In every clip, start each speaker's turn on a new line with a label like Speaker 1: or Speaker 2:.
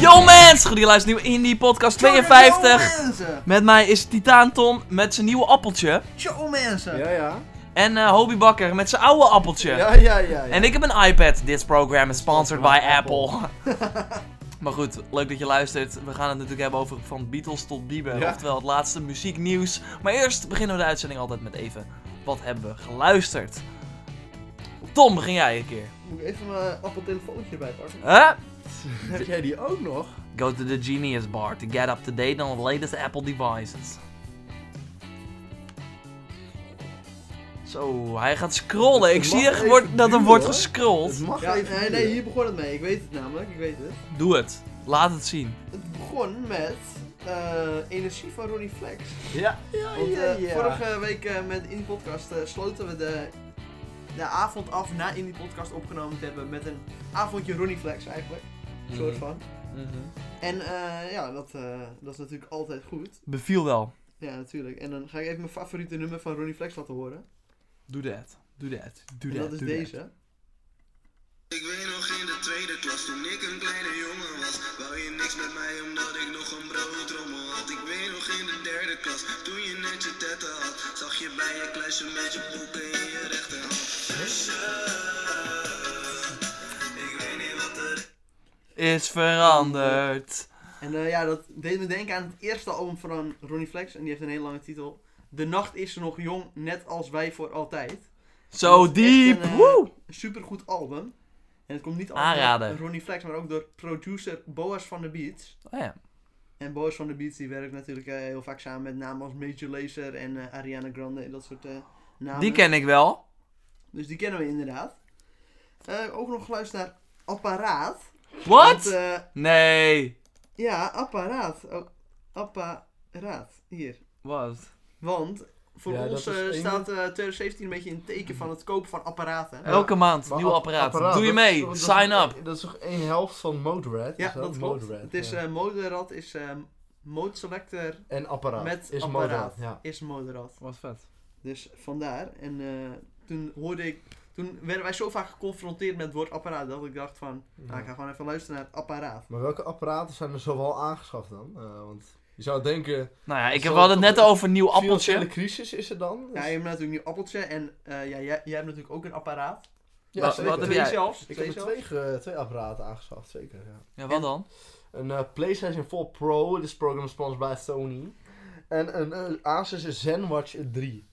Speaker 1: Yo mensen, die luistert nieuw Indie Podcast 52.
Speaker 2: Yo mensen!
Speaker 1: Met mij is Titaan Tom met zijn nieuwe appeltje.
Speaker 2: Yo mensen!
Speaker 3: Ja, ja.
Speaker 1: En eh Hobie Bakker met zijn oude appeltje.
Speaker 3: Ja, ja, ja. ja.
Speaker 1: En ik heb een iPad. Dit program is sponsored by Apple. maar goed, leuk dat je luistert. We gaan het natuurlijk hebben over van Beatles tot Bieber.
Speaker 3: Ja.
Speaker 1: Oftewel het laatste muzieknieuws. Maar eerst beginnen we de uitzending altijd met even. Wat hebben we geluisterd? Tom, begin jij een keer.
Speaker 2: Moet ik even mijn appeltelefoontje bijpakken?
Speaker 1: Huh?
Speaker 3: Heb jij die ook nog?
Speaker 1: Go to the Genius Bar to get up to date on the latest Apple devices. Zo, hij gaat scrollen. Ik
Speaker 3: Het
Speaker 1: zie
Speaker 3: mag
Speaker 1: echt
Speaker 3: even
Speaker 1: wordt, dat er
Speaker 3: duren,
Speaker 1: wordt
Speaker 3: hoor.
Speaker 1: gescrolld.
Speaker 3: Het mag
Speaker 2: Ja, eh,
Speaker 3: even.
Speaker 2: nee, nee,
Speaker 3: duren.
Speaker 2: hier begon het mee. Ik weet het namelijk, ik weet het.
Speaker 1: Doe het. Laat het zien.
Speaker 2: Het begon met eh, energie van Ronnie Flex.
Speaker 3: Ja, ja,
Speaker 2: Want
Speaker 3: ja.
Speaker 2: eh,
Speaker 3: ja.
Speaker 2: vorige week eh, met in die podcast eh, sloten we de, de avond af na in die podcast opgenomen te hebben met een avondje Ronnie Flex eigenlijk. Een
Speaker 3: Mhm.
Speaker 2: soort van. En eh, ja, dat, eh, dat is natuurlijk altijd goed.
Speaker 1: Beviel wel.
Speaker 2: Ja, natuurlijk. En dan ga ik even mijn favoriete nummer van Ronnie Flex laten horen.
Speaker 1: Doe dat. Doe dat. Doe
Speaker 2: En
Speaker 1: dat.
Speaker 2: dat is
Speaker 1: doe
Speaker 2: deze.
Speaker 4: Ik weet nog in de tweede klas toen ik een kleine jongen was Wou je niks met mij omdat ik nog een broodrommel had Ik weet nog in de derde klas toen je net je tetten had Zag je bij je kluisje met je boeken in je rechterhand Zusje, ik weet niet wat er
Speaker 1: Is veranderd.
Speaker 2: En eh, ja, dat deed me denken aan het eerste album van Ronnie Flex. En die heeft een hele lange titel. De nacht is nog jong, net als wij voor altijd.
Speaker 1: Zo
Speaker 2: Dat is echt
Speaker 1: diep.
Speaker 2: een, eh,
Speaker 1: Woe. Oh
Speaker 2: Een supergoed album. En het komt niet
Speaker 1: Aanraden.
Speaker 2: door Ronnie Flex, maar ook door producer Boas van de Beats.
Speaker 1: Oh ja.
Speaker 2: En Boas van de Beats die werkt natuurlijk eh, heel vaak samen met namen als Major Lazer en eh, Ariana Grande en dat soort eh, namen.
Speaker 1: Die ken ik wel.
Speaker 2: Dus die kennen we inderdaad. Eh, ook nog geluisterd naar Apparaat. Want,
Speaker 1: What?
Speaker 2: eh,
Speaker 1: Nee.
Speaker 2: ja, Apparaat. Oh, apparaat. Hier.
Speaker 1: Wat?
Speaker 2: Want voor
Speaker 3: Ja, dat
Speaker 2: ons
Speaker 3: is
Speaker 2: eh,
Speaker 3: één-
Speaker 2: staat eh, 2017 een beetje in het teken van het kopen van apparaten.
Speaker 3: Ja.
Speaker 1: Elke maand.
Speaker 3: Maar
Speaker 1: Nieuw
Speaker 3: app-
Speaker 1: apparaat. Doe je
Speaker 3: dat
Speaker 1: mee.
Speaker 3: is- dat is-
Speaker 1: Sign up.
Speaker 3: Dat is toch één helft van Moderat?
Speaker 2: ja,
Speaker 3: Is
Speaker 2: dat klopt.
Speaker 3: Moderat,
Speaker 2: het is
Speaker 3: ja.
Speaker 2: eh Moderat is eh, mode selector
Speaker 3: en apparaat.
Speaker 2: met
Speaker 3: is
Speaker 2: apparaat.
Speaker 3: Moderat, ja.
Speaker 2: Is Moderat.
Speaker 1: Wat vet.
Speaker 2: Dus vandaar. En eh, toen hoorde ik, toen werden wij zo vaak geconfronteerd met het woord apparaat dat ik dacht van, nou ik ga gewoon even luisteren naar het apparaat.
Speaker 3: Maar welke apparaten zijn er zowel aangeschaft dan? Eh, want je zou denken,
Speaker 1: Nou ja, ik
Speaker 3: Zal
Speaker 1: heb wel het
Speaker 3: ik
Speaker 1: net
Speaker 3: toch-
Speaker 1: over een nieuw
Speaker 3: financiële
Speaker 1: appeltje.
Speaker 3: crisis is er dan? Dus-
Speaker 2: Ja, je hebt natuurlijk nu appeltje en eh, ja, jij, jij hebt natuurlijk ook een apparaat.
Speaker 3: Ja,
Speaker 1: Wat-
Speaker 3: zeker.
Speaker 1: wat heb
Speaker 2: Twee
Speaker 1: jij?
Speaker 2: zelfs.
Speaker 3: Ik
Speaker 2: twee
Speaker 3: heb er
Speaker 2: zelfs.
Speaker 3: twee, ge- twee apparaten aangeschaft, zeker. Ja.
Speaker 1: Ja, wat dan?
Speaker 3: Een eh, PlayStation 4 Pro, dit is program sponsored bij Sony. En een eh, Asus Zenwatch 3.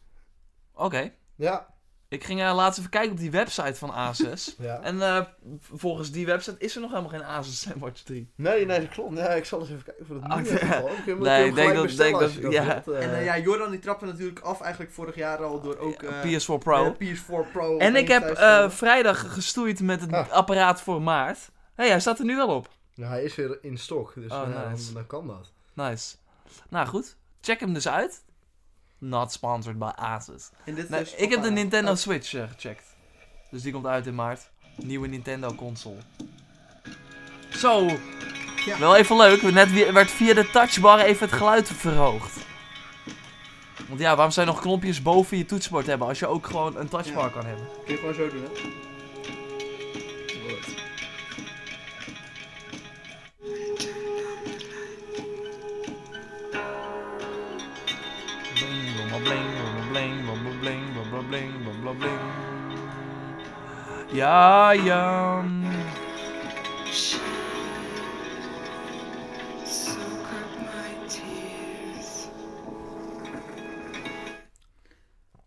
Speaker 1: Oké.
Speaker 3: Ja,
Speaker 1: Ik ging eh, laatst even kijken op die website van Asus.
Speaker 3: ja.
Speaker 1: en eh, volgens die website is er nog helemaal geen Asus Sandwich 3
Speaker 3: Nee, nee, dat klopt. Ja, ik zal eens even kijken voor het
Speaker 1: Ah,
Speaker 3: nieuwe.
Speaker 1: ja.
Speaker 3: geval. Kun je
Speaker 1: Nee,
Speaker 3: nee,
Speaker 1: ik
Speaker 3: ik
Speaker 1: denk dat-
Speaker 3: dat, denk dat,
Speaker 1: ja.
Speaker 2: En eh, ja, Jordan die trapte natuurlijk af eigenlijk vorig jaar al door ook eh,
Speaker 1: PS4 Pro.
Speaker 2: eh, PS4 Pro.
Speaker 1: en ik heb
Speaker 2: thuis
Speaker 1: eh,
Speaker 2: komen.
Speaker 1: vrijdag gestoeid met het
Speaker 3: Ah.
Speaker 1: apparaat voor maart. Hé, hey, hij staat er nu wel op.
Speaker 3: Nou, hij is weer in stok, dus
Speaker 1: Oh,
Speaker 3: eh,
Speaker 1: nice.
Speaker 3: dan, dan kan dat.
Speaker 1: Nice. Nou goed, check hem dus uit. Not sponsored by Asus.
Speaker 2: En dit
Speaker 1: Nee,
Speaker 2: is
Speaker 1: nou, ik heb de
Speaker 2: apparaat.
Speaker 1: Nintendo Switch eh, gecheckt. Dus die komt uit in maart. Nieuwe Nintendo console. Zo.
Speaker 2: Ja.
Speaker 1: Wel even leuk. Net wi- werd via de touchbar even het geluid verhoogd. Want ja, waarom zou je nog knopjes boven je toetsenbord hebben als je ook gewoon een touchbar
Speaker 2: Ja.
Speaker 1: kan hebben?
Speaker 2: Kun je gewoon zo doen, hè?
Speaker 1: Bling, blom, bling, blom, bling, blom, bling, blom, bling, blom, blom, bling. Ja, ja.
Speaker 5: Soak up my tears.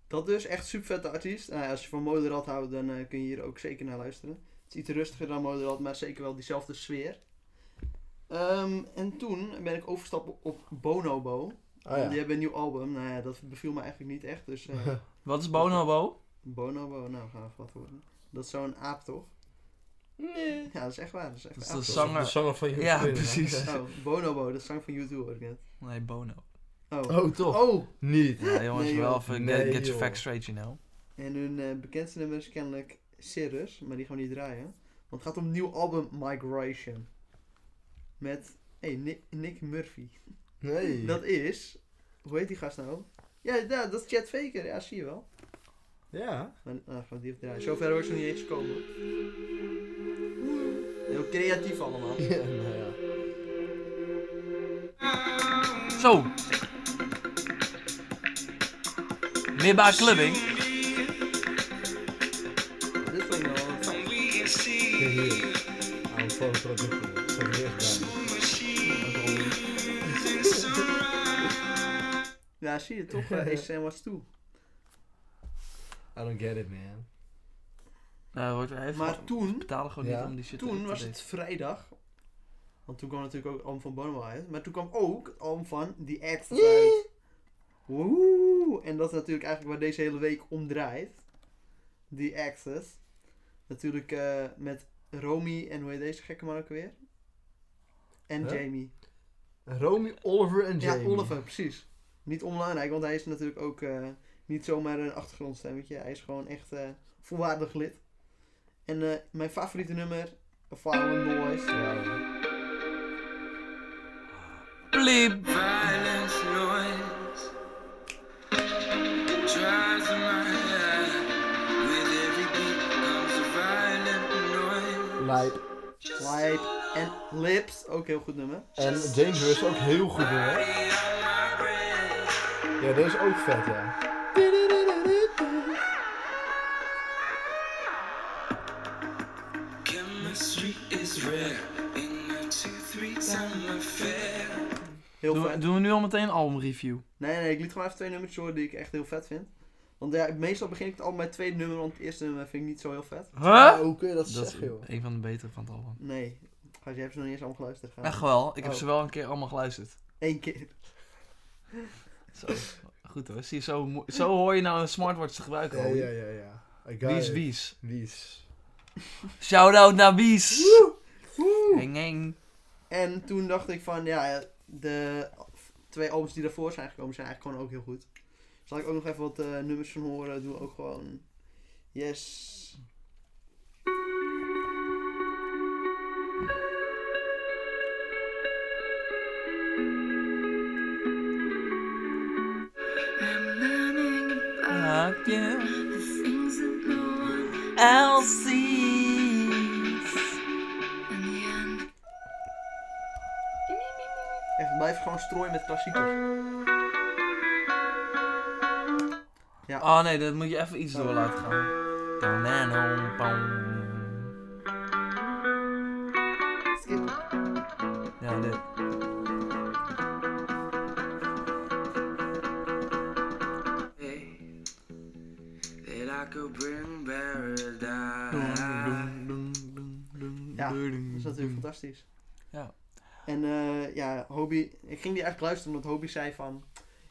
Speaker 2: Dat dus, echt super vette artiest. Nou ja, als je van Moderat houdt, dan eh, kun je hier ook zeker naar luisteren. Het is iets rustiger dan Moderat, maar zeker wel diezelfde sfeer. Ehm, en toen ben ik overgestapt op Bonobo.
Speaker 3: Ah ja.
Speaker 2: Die hebben een nieuw album. Nou ja, dat beviel me eigenlijk niet echt. Dus eh,
Speaker 1: Wat is Bonobo?
Speaker 2: Bonobo, nou gaan we even wat horen. Dat is zo'n aap toch?
Speaker 3: Nee.
Speaker 2: Ja, dat is echt waar. Dat is echt
Speaker 1: Dat is dus-
Speaker 2: een aap.
Speaker 1: de
Speaker 3: Dat
Speaker 1: zanger.
Speaker 3: is de zanger van je
Speaker 1: Ja,
Speaker 3: vriendin, hè?
Speaker 1: precies.
Speaker 2: Oh, Bonobo, dat is zang van YouTube hoor ik net.
Speaker 1: Nee, Bono.
Speaker 2: Oh.
Speaker 3: Oh, toch?
Speaker 2: Oh,
Speaker 3: Niet.
Speaker 1: Ja, jongens,
Speaker 2: Nee,
Speaker 1: wel
Speaker 2: joh.
Speaker 1: even
Speaker 3: Nee,
Speaker 1: get, get your
Speaker 3: joh.
Speaker 1: facts straight, you know.
Speaker 2: En hun eh, bekendste nummer is kennelijk Cirrus, maar die gaan we niet draaien. Want het gaat om een nieuw album Migration. Met, hey, Nick, Nick Murphy.
Speaker 3: Nee.
Speaker 2: Dat is, hoe heet die gast nou? Ja, da- dat is Chad Faker, ja, zie je wel.
Speaker 3: Ja.
Speaker 2: Maar nou, gaan we die even draaien. Zover hoor ik ze nog niet eens komen. Heel creatief allemaal.
Speaker 3: Ja, nou ja.
Speaker 1: Zo. Midbaar clubbing.
Speaker 2: Dit vind ik wel fijn.
Speaker 3: Kijk hier. Aan het producten. Dat is het eerst gedaan.
Speaker 2: Ja, zie je toch? eh, Is en was toe.
Speaker 3: I don't get it, man.
Speaker 1: Nou, wordt weer even.
Speaker 2: Maar toen,
Speaker 1: betalen gewoon
Speaker 3: Ja.
Speaker 1: niet om die shit
Speaker 2: toen
Speaker 1: te
Speaker 2: was het
Speaker 1: lezen.
Speaker 2: vrijdag. Want toen kwam natuurlijk ook het album van Bono uit. Maar toen kwam ook het album van The Act uit. Woehoe! En dat is natuurlijk eigenlijk waar deze hele week om draait. The Access. Natuurlijk eh, met Romy en hoe heet deze gekke man ook weer? En
Speaker 3: Huh?
Speaker 2: Jamie.
Speaker 6: Romy, Oliver en Jamie.
Speaker 2: Ja, Oliver, precies. Niet onbelangrijk, want hij is natuurlijk ook eh, niet zomaar een achtergrondstemmetje. Hij is gewoon echt eh, volwaardig lid. En eh, mijn favoriete nummer, A Violent Noise.
Speaker 3: Ja, hoor.
Speaker 1: Bliep.
Speaker 4: Violent noise drives my head. With every beat comes a violent noise.
Speaker 6: Lijp.
Speaker 2: Light en Lips, ook heel goed nummer.
Speaker 6: En Dangerous ook heel goed hoor.
Speaker 3: Ja, deze is ook vet, ja.
Speaker 4: Chemistry is rare in a two-three-time affair.
Speaker 2: Heel
Speaker 1: Doen we,
Speaker 2: vet.
Speaker 1: doen we nu al meteen een albumreview?
Speaker 2: Nee, nee, ik liet gewoon even twee nummers horen die ik echt heel vet vind. Want ja, meestal begin ik het altijd met het tweede nummer, want het eerste nummer vind ik niet zo heel vet.
Speaker 1: Huh?
Speaker 6: Hoe kun je dat,
Speaker 1: Nou, Dat is
Speaker 6: zeggen, joh?
Speaker 1: een van de betere van het album.
Speaker 2: Nee, als je hebt ze nog niet eens allemaal geluisterd. Gaan.
Speaker 1: Echt wel, ik heb
Speaker 6: Oh.
Speaker 1: ze wel een keer allemaal geluisterd.
Speaker 2: Eén keer.
Speaker 1: Zo. Goed hoor, zie je, zo, mo- zo hoor je nou een smartwatch te gebruiken.
Speaker 3: Ja,
Speaker 1: Robby.
Speaker 3: ja, ja. ja. I got
Speaker 1: Wies
Speaker 3: it.
Speaker 1: Wies.
Speaker 3: Wies.
Speaker 1: Shout-out naar Wies. Heng heng.
Speaker 2: En toen dacht ik van, ja, de twee albums die daarvoor zijn gekomen zijn eigenlijk gewoon ook heel goed. Zal ik ook nog even wat eh, nummers van horen? Doen we ook gewoon. Yes.
Speaker 7: I'm learning about
Speaker 1: Maak je
Speaker 7: the things that no one
Speaker 1: Elsie's.
Speaker 7: in the end.
Speaker 2: Echt, blijf gewoon strooien met klassiekers.
Speaker 1: Oh nee, dat moet je even iets door laten gaan. Tananam, pam.
Speaker 2: Skip.
Speaker 1: Ja, dit.
Speaker 4: That I could bring paradise.
Speaker 2: Ja, Dus Dat is natuurlijk
Speaker 3: Mm-hmm.
Speaker 2: fantastisch.
Speaker 1: Ja.
Speaker 2: En eh, ja, Hobie, ik ging die eigenlijk luisteren omdat Hobie zei van,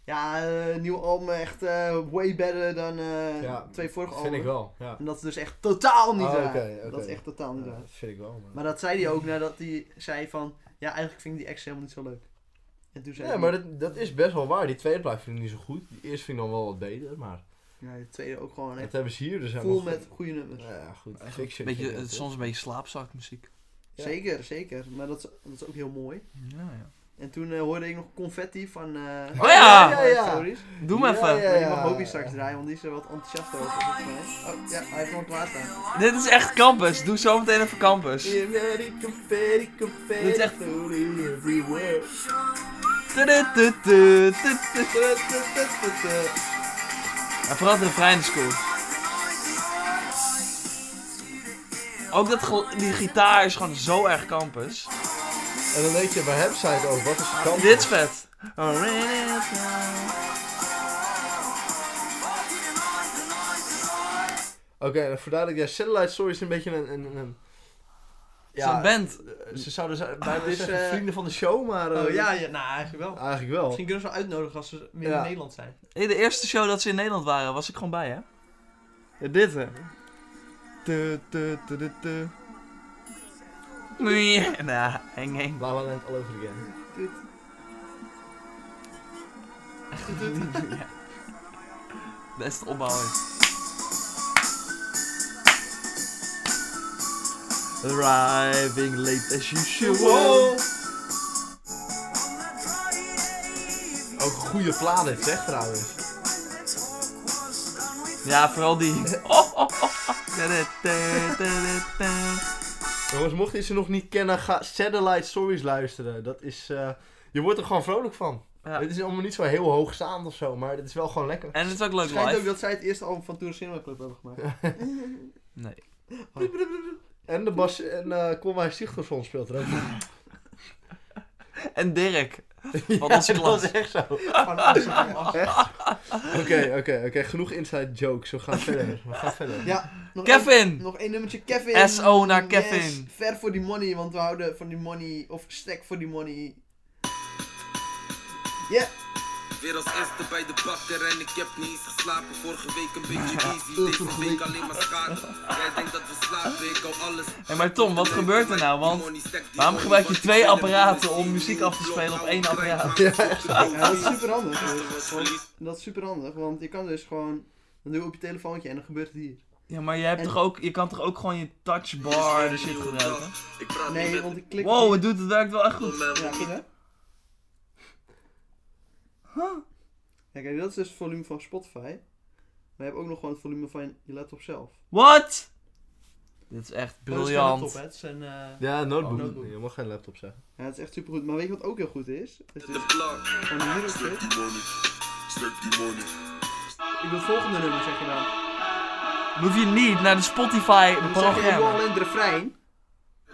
Speaker 2: ja, eh, nieuw album echt eh, way better dan eh,
Speaker 3: Ja,
Speaker 2: twee vorige
Speaker 3: Dat
Speaker 2: albums.
Speaker 3: vind ik wel, ja.
Speaker 2: En dat is dus echt totaal niet
Speaker 3: Ah,
Speaker 2: waar.
Speaker 3: oké, oké.
Speaker 2: Dat is echt totaal niet
Speaker 3: Ja,
Speaker 2: waar.
Speaker 3: Dat vind ik wel, man.
Speaker 2: Maar dat zei hij ook nadat hij zei van, ja, eigenlijk vind ik die ex helemaal niet zo leuk. En toen zei
Speaker 3: Ja,
Speaker 2: hij,
Speaker 3: maar dat, dat is best wel waar. Die tweede plaat vind ik niet zo goed. Die eerste vind ik dan wel wat beter, maar...
Speaker 2: ja, de tweede ook gewoon
Speaker 3: Dat
Speaker 2: echt
Speaker 3: hebben ze hier dus
Speaker 2: vol
Speaker 3: helemaal
Speaker 2: met goede nummers.
Speaker 3: Ja, goed.
Speaker 1: Beetje,
Speaker 3: Fiction.
Speaker 1: beetje, het is soms een beetje slaapzakmuziek.
Speaker 3: Ja.
Speaker 2: Zeker, zeker. Maar dat is, dat is ook heel mooi.
Speaker 1: Ja, ja.
Speaker 2: En toen eh, hoorde ik nog confetti van... eh
Speaker 1: Oh ja!
Speaker 3: Ja, ja.
Speaker 2: Stories.
Speaker 1: Doe maar
Speaker 3: Ja,
Speaker 1: even.
Speaker 3: ja.
Speaker 2: Maar die mag Hobie straks draaien, want die is er wat enthousiast over. volgens mij. Oh, ja, hij heeft gewoon klaarstaan.
Speaker 1: Dit is echt campus. Doe zo meteen even campus.
Speaker 2: confetti, confetti.
Speaker 1: Dit is echt-
Speaker 2: everywhere.
Speaker 1: Tudututu, tudututu. En vooral de refrein is cool. Ook dat gel- die gitaar is gewoon zo erg campus.
Speaker 3: En dan denk je, waar hebben zij het over? Wat is de kans?
Speaker 1: Dit is vet.
Speaker 3: Oké, dan verduidelijk. Ja, Satellite Story is een beetje een... een, een- een
Speaker 1: Zo'n band.
Speaker 3: eh, Ze zouden zijn, bijna
Speaker 2: Dus,
Speaker 3: zeggen
Speaker 2: eh,
Speaker 3: vrienden van de show, maar... eh,
Speaker 2: Oh ja, ja, nou eigenlijk wel.
Speaker 3: Eigenlijk wel.
Speaker 2: Misschien kunnen ze wel uitnodigen als ze meer
Speaker 3: Oh. Ja.
Speaker 2: in Nederland zijn.
Speaker 1: Hey, de eerste show dat ze in Nederland waren, was ik gewoon bij, hè? dit, hè? Tu, tu, tu, tu, tu. Nee, nah, heng, heng.
Speaker 3: Bla bla land all over again.
Speaker 1: ja. Best opbouwen. Arriving late as usual.
Speaker 3: Ook een goede plaat dit, zeg trouwens.
Speaker 1: Ja, vooral die. Oh, oh, oh, oh. Da, da, da, da, da, da.
Speaker 3: Jongens, mocht je ze nog niet kennen, ga Satellite Stories luisteren. Dat is... eh, je wordt er gewoon vrolijk van.
Speaker 1: Ja.
Speaker 3: Dit is allemaal niet zo heel hoogstaand of zo, maar dit is wel gewoon lekker.
Speaker 1: En het is ook
Speaker 2: Het
Speaker 1: leuk
Speaker 2: schijnt
Speaker 1: live.
Speaker 2: ook dat zij het eerste album van Tour Cinema Club hebben gemaakt.
Speaker 1: Nee.
Speaker 3: En de bas en eh Conway Sigtorsson speelt er ook.
Speaker 1: En Dirk. Van
Speaker 3: Ja,
Speaker 1: onze klas.
Speaker 3: Dat is echt zo.
Speaker 2: Van Amsterdam.
Speaker 3: Echt? Oké, oké, oké. Genoeg inside jokes. We gaan verder. We gaan verder.
Speaker 2: Ja, nog één-
Speaker 1: Kevin!
Speaker 2: nog één nummertje Kevin.
Speaker 1: SO naar
Speaker 2: Yes,
Speaker 1: Kevin.
Speaker 2: Ver voor die money, want we houden van die money. Of stek voor die money. Ja,
Speaker 4: Weer als eerste bij de bakker en ik heb niet eens geslapen. Vorige week een beetje easy, deze week alleen maar schade. Jij denkt dat we slapen, ik hou alles.
Speaker 1: Hé, maar Tom, wat gebeurt er nou? Want waarom gebruik je twee apparaten om muziek af te spelen op één apparaat?
Speaker 4: Ja,
Speaker 2: ja, dat is super handig. dus.
Speaker 4: verlies.
Speaker 2: Dat is super handig, want je kan dus gewoon. Dan doe je op je telefoontje en dan gebeurt het hier.
Speaker 1: Ja, maar je, hebt
Speaker 2: En-
Speaker 1: toch ook, je kan toch ook gewoon je touchbar en shit gebruiken?
Speaker 4: Ik praat
Speaker 2: Nee,
Speaker 4: niet
Speaker 2: want
Speaker 4: met
Speaker 2: ik klik.
Speaker 1: Wow, het, doet, het werkt wel echt goed.
Speaker 2: Ja, goed hè? Ja, kijk, dat is dus het volume van Spotify. Maar je hebt ook nog gewoon het volume van je laptop zelf.
Speaker 1: What? Dit is echt
Speaker 2: Dat is geen laptop,
Speaker 1: briljant.
Speaker 2: hè? Het is een, eh,
Speaker 3: Ja, notebook.
Speaker 2: Oh, notebook.
Speaker 3: Je mag geen laptop zeggen.
Speaker 2: Ja, het is echt super goed. Maar weet je wat ook heel goed is? Het
Speaker 4: de
Speaker 2: is
Speaker 4: plank.
Speaker 2: gewoon hier op
Speaker 4: Stek
Speaker 2: zit.
Speaker 4: die money, stek die money.
Speaker 2: Ik wil het volgende nummer, zeg je dan.
Speaker 1: Hoef je niet naar de Spotify
Speaker 2: Dan zeg je, ik wil
Speaker 1: programma.
Speaker 2: alleen het refrein.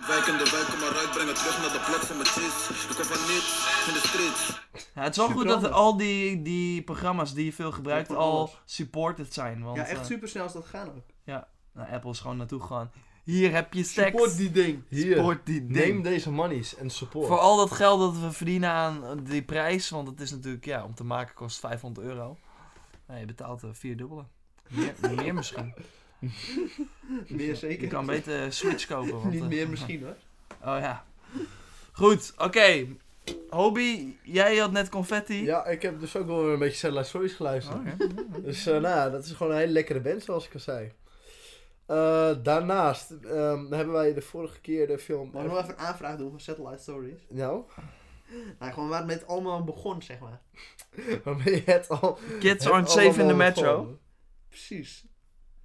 Speaker 4: Wijkende wijken maar uitbrengen terug naar de plek van mijn chis. Ik kwam van niks in de streets.
Speaker 1: Ja, het is wel goed dat
Speaker 2: Superhandig.
Speaker 1: al die, die programma's die je veel gebruikt
Speaker 2: Ja, voor
Speaker 1: al
Speaker 2: alles.
Speaker 1: supported zijn. Want
Speaker 2: Ja, echt
Speaker 1: eh,
Speaker 2: super snel is dat gaan ook.
Speaker 1: nou, Apple is gewoon naartoe gegaan. Hier heb je stacks.
Speaker 2: Support die ding.
Speaker 3: Hier,
Speaker 1: Support die ding.
Speaker 3: neem deze monies en support.
Speaker 1: Voor al dat geld dat we verdienen aan eh, die prijs, want het is natuurlijk, ja, om te maken kost 500 euro. Nou, je betaalt eh, vier dubbele. Meer, meer misschien.
Speaker 2: Meer zeker.
Speaker 1: Je kan beter eh, Switch kopen. Want,
Speaker 2: Niet
Speaker 1: eh,
Speaker 2: meer misschien hoor.
Speaker 1: Oh ja. Goed, oké. Hobby, jij had net confetti.
Speaker 3: Ja, ik heb dus ook wel weer een beetje Satellite Stories geluisterd.
Speaker 2: Oh,
Speaker 1: Oké.
Speaker 3: Dus eh, nou, ja, dat is gewoon een hele lekkere band, zoals ik al zei. Eh, daarnaast ehm, hebben wij de vorige keer de film...
Speaker 2: Maar nog even een aanvraag doen van Satellite Stories.
Speaker 3: Nou,
Speaker 2: Nou, gewoon waar het met allemaal begon, zeg maar.
Speaker 3: waarmee je het al...
Speaker 1: Kids
Speaker 3: het
Speaker 1: aren't safe in the
Speaker 3: allemaal
Speaker 1: metro.
Speaker 3: begon.
Speaker 2: Precies.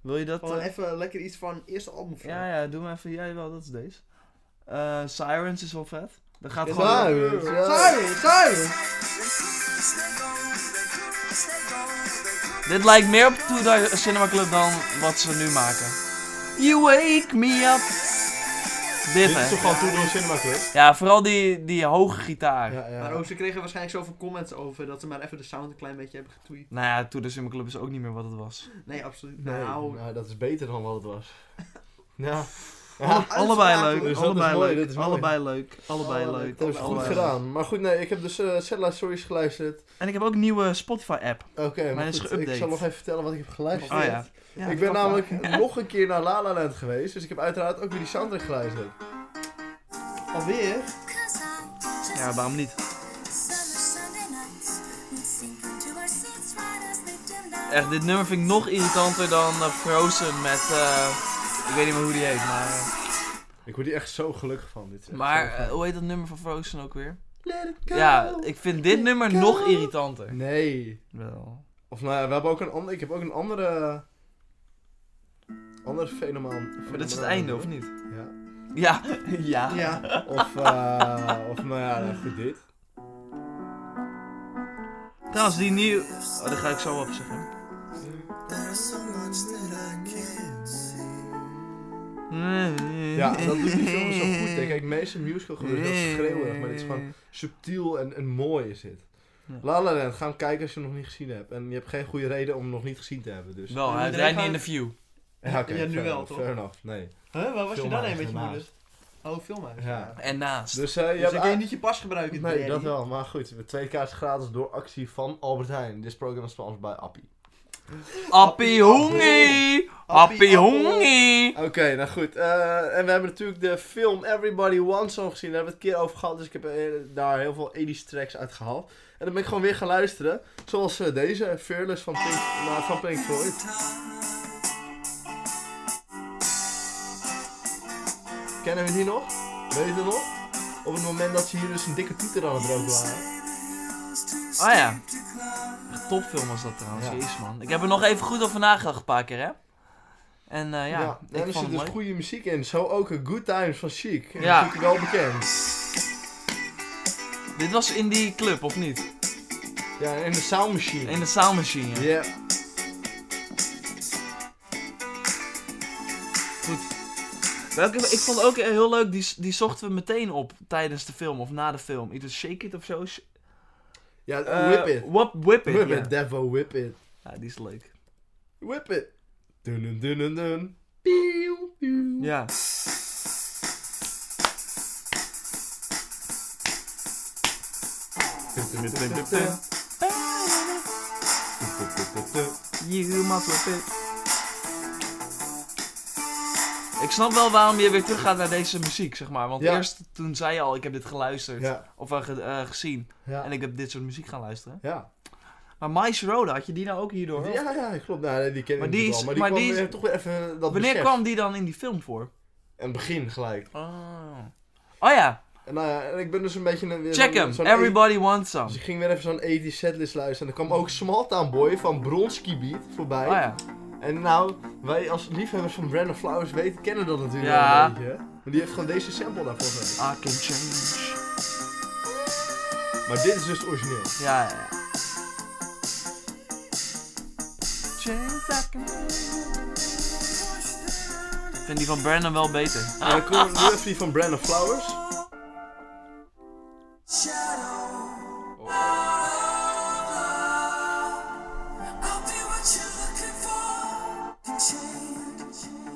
Speaker 1: Wil je dat?
Speaker 2: Gewoon
Speaker 1: eh,
Speaker 2: even lekker iets van eerste album. voor.
Speaker 1: ja, ja, doe maar even. Jij wel, dat is deze. Eh, Sirens is wel vet. Dat gaat
Speaker 2: Ja,
Speaker 1: gewoon.
Speaker 2: waar.
Speaker 3: Sirens, ja.
Speaker 2: Sorry, sorry.
Speaker 1: Dit lijkt meer op 2000 Cinema Club dan wat ze nu maken. You wake me up. Dit,
Speaker 3: Dit is
Speaker 1: hè?
Speaker 3: toch gewoon toen door Cinema Club?
Speaker 1: Ja, vooral die, die hoge gitaar.
Speaker 3: Ja, ja.
Speaker 2: Maar ook, ze kregen waarschijnlijk zoveel comments over dat ze maar even de sound een klein beetje hebben getweet.
Speaker 1: Nou ja, Tour de Cinema Club is ook niet meer wat het was.
Speaker 2: Nee, absoluut.
Speaker 3: Nee,
Speaker 2: Nou,
Speaker 3: nou, dat is beter dan wat het was. Ja.
Speaker 1: Alle-
Speaker 2: Uitspraak,
Speaker 1: allebei leuk,
Speaker 2: hoor.
Speaker 3: Dus dat is
Speaker 1: allebei
Speaker 3: mooi,
Speaker 1: leuk,
Speaker 3: dat is mooi. Oh,
Speaker 1: allebei leuk, allebei
Speaker 2: Allebei
Speaker 1: leuk.
Speaker 3: Dat is goed
Speaker 1: allebei leuk.
Speaker 3: gedaan. Maar goed, nee, ik heb dus eh Satellite Stories geluisterd.
Speaker 1: En ik heb ook een nieuwe Spotify-app.
Speaker 3: Oké, maar
Speaker 1: hij is
Speaker 3: goed, ik
Speaker 1: geüpdate.
Speaker 3: zal nog even vertellen wat ik heb geluisterd.
Speaker 1: Oh ja. Ja,
Speaker 3: ik ben
Speaker 1: papa.
Speaker 3: namelijk nog een keer naar La La Land geweest, dus ik heb uiteraard ook weer die soundtrack geluisterd.
Speaker 2: Alweer?
Speaker 1: Ja, waarom niet? Echt, dit nummer vind ik nog irritanter dan eh, Frozen met... eh, ik weet niet meer hoe die heet, maar... eh,
Speaker 3: Ik word hier echt zo gelukkig van. Dit is echt
Speaker 1: maar
Speaker 3: zo
Speaker 1: eh,
Speaker 3: fijn.
Speaker 1: hoe heet dat nummer van Frozen ook weer?
Speaker 3: Let it go.
Speaker 1: Ja, ik vind dit nummer
Speaker 3: go.
Speaker 1: nog irritanter.
Speaker 3: Nee.
Speaker 1: Wel.
Speaker 3: Of nou ja, we hebben ook een ander, ik heb ook een andere... Ander fenomeen.
Speaker 1: Maar dat is het einde, of niet? Ja,
Speaker 3: Ja.
Speaker 1: ja.
Speaker 2: Ja.
Speaker 3: Of, eh, of nou ja, nou, goed dit.
Speaker 1: Trouwens, die nieuwe... Oh, daar ga ik zo op zeggen.
Speaker 3: Ja, dat doet die film zo goed. Hè. Kijk, meeste musical gebeuren is heel schreeuwerig, maar dit is gewoon subtiel en, en mooi is dit.
Speaker 1: Ja.
Speaker 3: La La Land, ga hem kijken als je hem nog niet gezien hebt. En je hebt geen goede reden om hem nog niet gezien te hebben, dus...
Speaker 1: Wel, hij
Speaker 2: Iedereen
Speaker 1: rijdt niet
Speaker 2: gaat-
Speaker 1: in de view.
Speaker 3: Ja, oké,
Speaker 2: Ja, nu
Speaker 3: fair
Speaker 2: wel,
Speaker 3: enough,
Speaker 2: toch?
Speaker 3: Fair enough, nee.
Speaker 2: Huh, waar was je dan
Speaker 3: Filmhuis
Speaker 2: een beetje moeder?
Speaker 3: ernaast.
Speaker 2: Oh, filmhuis.
Speaker 3: Ja.
Speaker 2: Ja.
Speaker 1: En naast.
Speaker 3: Dus eh, je
Speaker 2: Dus dan
Speaker 3: hebt...
Speaker 2: kun je niet je pas gebruiken.
Speaker 3: Nee,
Speaker 2: Daddy.
Speaker 3: dat wel. Maar goed, met twee kaartjes gratis door actie van Albert Heijn. Dit programma is sponsor bij Appie.
Speaker 1: Appie hongi! Appie hongi!
Speaker 3: Oké, nou goed. eh, en we hebben natuurlijk de film Everybody Wants Song gezien. Daar hebben we het een keer over gehad. Dus ik heb eh, daar heel veel 80s tracks uit gehaald. En dan ben ik gewoon weer gaan luisteren. Zoals eh, deze, Fearless van Pink, nou, van Pink Floyd. Kennen we die nog? Weet je het nog? Op het moment dat ze hier dus een dikke toeter aan het roken waren.
Speaker 1: Oh ja. Echt topfilm was dat trouwens,
Speaker 3: Ja.
Speaker 1: jezus man. Ik heb er nog even goed over nagedacht een paar keer, hè. En eh, ja,
Speaker 3: en er
Speaker 1: ik vond
Speaker 3: zit
Speaker 1: hem
Speaker 3: dus
Speaker 1: mooi.
Speaker 3: goede muziek in. Zo ook een Good Times van Chic. En
Speaker 1: Ja.
Speaker 3: Dat is natuurlijk wel bekend.
Speaker 1: Dit was in die club, of niet?
Speaker 3: Ja, en de sound machine.
Speaker 1: In de sound machine. ja.
Speaker 3: Ja.
Speaker 1: Welke, ik vond ook eh, heel leuk, die, die zochten we meteen op tijdens de film of na de film. Iets als Shake It of zo. Sh-
Speaker 3: Ja,
Speaker 1: eh,
Speaker 3: Oh, whip it.
Speaker 1: Wap- whip It.
Speaker 3: Whip
Speaker 1: ja.
Speaker 3: it, Devo, whip it.
Speaker 1: Ja, die is leuk.
Speaker 3: Whip it. Dun dun dun dun dun. Pew, pew.
Speaker 1: Ja. You must whip it. Ik snap wel waarom je weer teruggaat naar deze muziek, zeg maar. Want
Speaker 3: Ja.
Speaker 1: eerst toen zei je al, ik heb dit geluisterd.
Speaker 3: Ja,
Speaker 1: Of eh, ge- eh, gezien. En
Speaker 3: ja,
Speaker 1: ik heb dit soort muziek gaan luisteren.
Speaker 3: ja.
Speaker 1: Maar Mice Roda, had je die nou ook hierdoor? of-
Speaker 3: Ja, ja, klopt. Nou, die ken
Speaker 1: Maar
Speaker 3: ik
Speaker 1: die
Speaker 3: natuurlijk
Speaker 1: is-
Speaker 3: wel. Maar die
Speaker 1: maar
Speaker 3: kwam
Speaker 1: die is-
Speaker 3: weer toch weer even dat
Speaker 1: Wanneer
Speaker 3: besef.
Speaker 1: kwam die dan in die film voor?
Speaker 3: En begin gelijk.
Speaker 1: Oh, oh ja,
Speaker 3: En nou ja, en ik ben dus een beetje... een- weer
Speaker 1: check
Speaker 3: zo'n-
Speaker 1: hem.
Speaker 3: zo'n
Speaker 1: Everybody wants
Speaker 3: Dus
Speaker 1: some.
Speaker 3: ik ging weer even zo'n 80 setlist luisteren. En er kwam ook Smalltown Boy van Bronski Beat
Speaker 1: Oh
Speaker 3: voorbij.
Speaker 1: ja.
Speaker 3: En nou, wij als liefhebbers van Brandon Flowers weten, kennen dat natuurlijk
Speaker 1: Ja.
Speaker 3: wel een beetje. hè. Maar die heeft gewoon deze sample daarvoor gedaan.
Speaker 1: I can change.
Speaker 3: Maar dit is dus origineel.
Speaker 1: Ja, ja. ja. Change I can change. Ik vind die van Brandon wel beter.
Speaker 3: En dan komt nu even die van Brandon Flowers.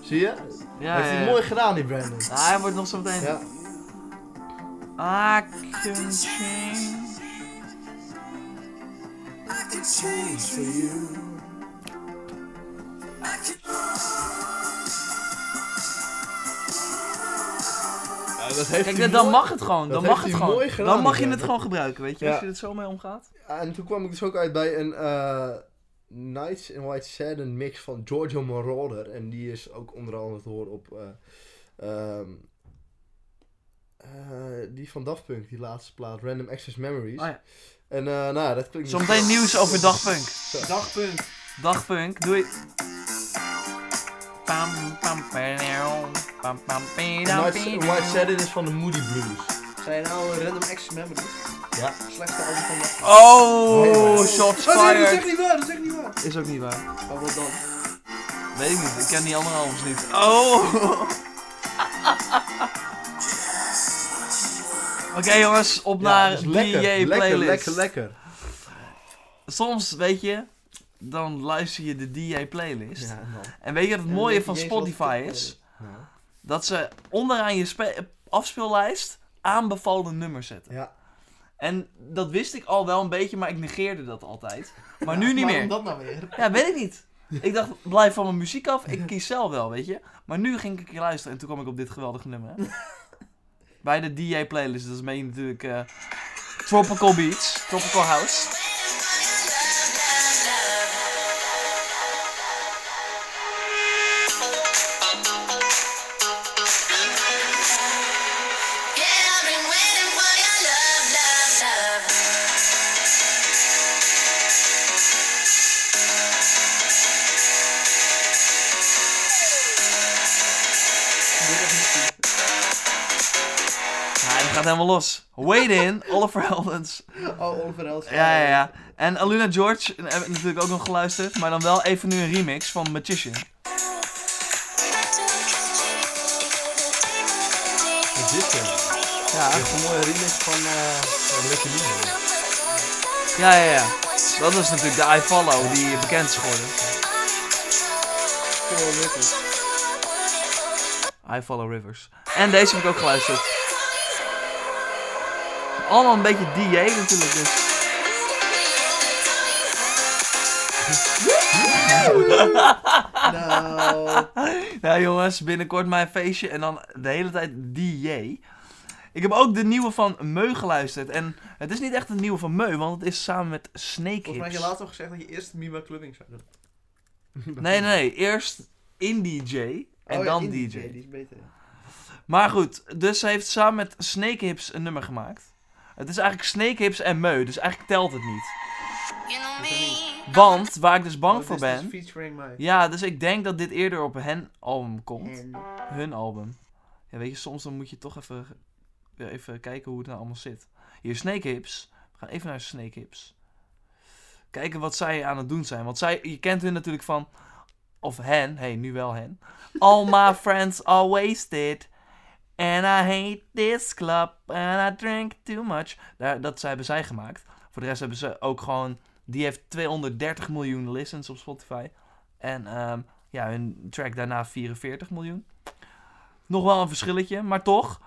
Speaker 3: Zie je?
Speaker 1: Ja,
Speaker 3: heeft
Speaker 1: ja,
Speaker 3: hij
Speaker 1: ja.
Speaker 3: mooi gedaan, die Brandon.
Speaker 1: Ah, hij wordt nog zo meteen.
Speaker 3: Ja.
Speaker 1: I can change.
Speaker 3: Ja, dat heeft
Speaker 1: Kijk,
Speaker 3: hij
Speaker 1: dan
Speaker 3: mooi-
Speaker 1: mag het gewoon. Dan
Speaker 3: dat heeft
Speaker 1: mag het
Speaker 3: hij
Speaker 1: gewoon.
Speaker 3: mooi gedaan,
Speaker 1: Dan mag je
Speaker 3: inderdaad.
Speaker 1: het gewoon gebruiken, weet je.
Speaker 3: Ja.
Speaker 1: Als je er zo mee omgaat.
Speaker 3: Ja, En toen kwam ik dus ook uit bij een eh Nights in White Satin mix van Giorgio Moroder. En die is ook onder andere te horen op eh, ehm, eh, die van Daft Punk, die laatste plaat, Random Access Memories.
Speaker 1: Oh ja.
Speaker 3: En eh, nou, ja, dat klinkt... dus-
Speaker 1: Zometeen nieuws over Dagpunk.
Speaker 2: Dagpunt.
Speaker 1: Dagpunk, doei. Pam, pam, pereom, pam, pam, pereom,
Speaker 3: Nights in
Speaker 1: pereom.
Speaker 3: White Satin is van de Moody Blues.
Speaker 2: Zijn nou een Random Access Memory?
Speaker 3: Ja.
Speaker 2: Slechtste album van de...
Speaker 1: Oh, shots
Speaker 2: Oh nee, dat is echt
Speaker 1: fired.
Speaker 2: niet waar, dat is echt niet waar.
Speaker 1: Is ook niet waar.
Speaker 2: Maar wat dan?
Speaker 1: Weet ik niet, ik ken die andere albums niet. Oh. Oké jongens, op naar
Speaker 3: dat is
Speaker 1: DJ
Speaker 3: dus lekker,
Speaker 1: eh, playlist.
Speaker 3: lekker, lekker, lekker.
Speaker 1: Soms, weet je, dan luister je de DJ playlist.
Speaker 3: Ja, man.
Speaker 1: En weet je wat het
Speaker 2: En dan
Speaker 1: mooie
Speaker 2: weet
Speaker 1: van
Speaker 2: je niet eens wat
Speaker 1: Spotify
Speaker 2: het
Speaker 1: is?
Speaker 3: Ja.
Speaker 1: Dat ze onderaan je spe- afspeellijst aanbevolen nummers zetten.
Speaker 3: Ja.
Speaker 1: En dat wist ik al wel een beetje, maar ik negeerde dat altijd. Maar nu niet
Speaker 2: Waarom
Speaker 1: meer.
Speaker 2: dat nou weer?
Speaker 1: Ja, weet ik niet. Ik dacht, blijf van mijn muziek af, ik kies zelf wel, weet je. Maar nu ging ik luisteren en toen kwam ik op dit geweldige nummer. hè. Bij de DJ playlist, dat is meen je natuurlijk eh, Tropical Beats, Tropical House. Ja, die gaat helemaal los. Wait in, Oliver Heldens.
Speaker 2: Oh, Oliver Els.
Speaker 1: Ja, ja, ja. En Aluna George eh, heb ik natuurlijk ook nog geluisterd, maar dan wel even nu een remix van Magician.
Speaker 3: Wat is dit dan?
Speaker 1: Ja,
Speaker 3: Dit is een mooie remix van eh Lekker Liefde.
Speaker 1: ja, ja. ja. Dat is natuurlijk de I Follow die bekend is geworden. I Follow Rivers. En deze heb ik ook geluisterd. Allemaal een beetje DJ natuurlijk. Dus.
Speaker 2: Nou,
Speaker 1: Nou jongens, binnenkort mijn feestje en dan de hele tijd DJ. Ik heb ook de nieuwe van Meu geluisterd. En het is niet echt een nieuwe van Meu, want het is samen met Snake
Speaker 2: volgens mij had je
Speaker 1: Hips.
Speaker 2: laatst al gezegd dat je eerst Mima Clubbing zou doen.
Speaker 1: Nee, nee, nee. Eerst in DJ en
Speaker 2: Oh ja,
Speaker 1: dan
Speaker 2: in
Speaker 1: DJ.
Speaker 2: Die is beter. ja.
Speaker 1: Maar goed, dus ze heeft samen met Snake Hips een nummer gemaakt. Het is eigenlijk Snake Hips en Meu, dus eigenlijk telt het niet. Want waar ik dus bang
Speaker 2: Oh,
Speaker 1: voor
Speaker 2: dit is dus
Speaker 1: ben.
Speaker 2: Featuring mij.
Speaker 1: Ja, dus ik denk dat dit eerder op hen album komt.
Speaker 2: En
Speaker 1: Hun album. Ja, weet je, soms dan moet je toch even, weer even kijken hoe het nou allemaal zit. Hier, Snake Hips. We gaan even naar Snake Hips. kijken wat zij aan het doen zijn. Want zij, je kent hun natuurlijk van, of hen, hey, nu wel hen. All my friends are wasted. And I hate this club. And I drink too much. Daar, dat hebben zij gemaakt. Voor de rest hebben ze ook gewoon, die heeft 230 miljoen listens op Spotify. En ehm, ja, hun track daarna 44 miljoen. Nog wel een verschilletje, maar toch.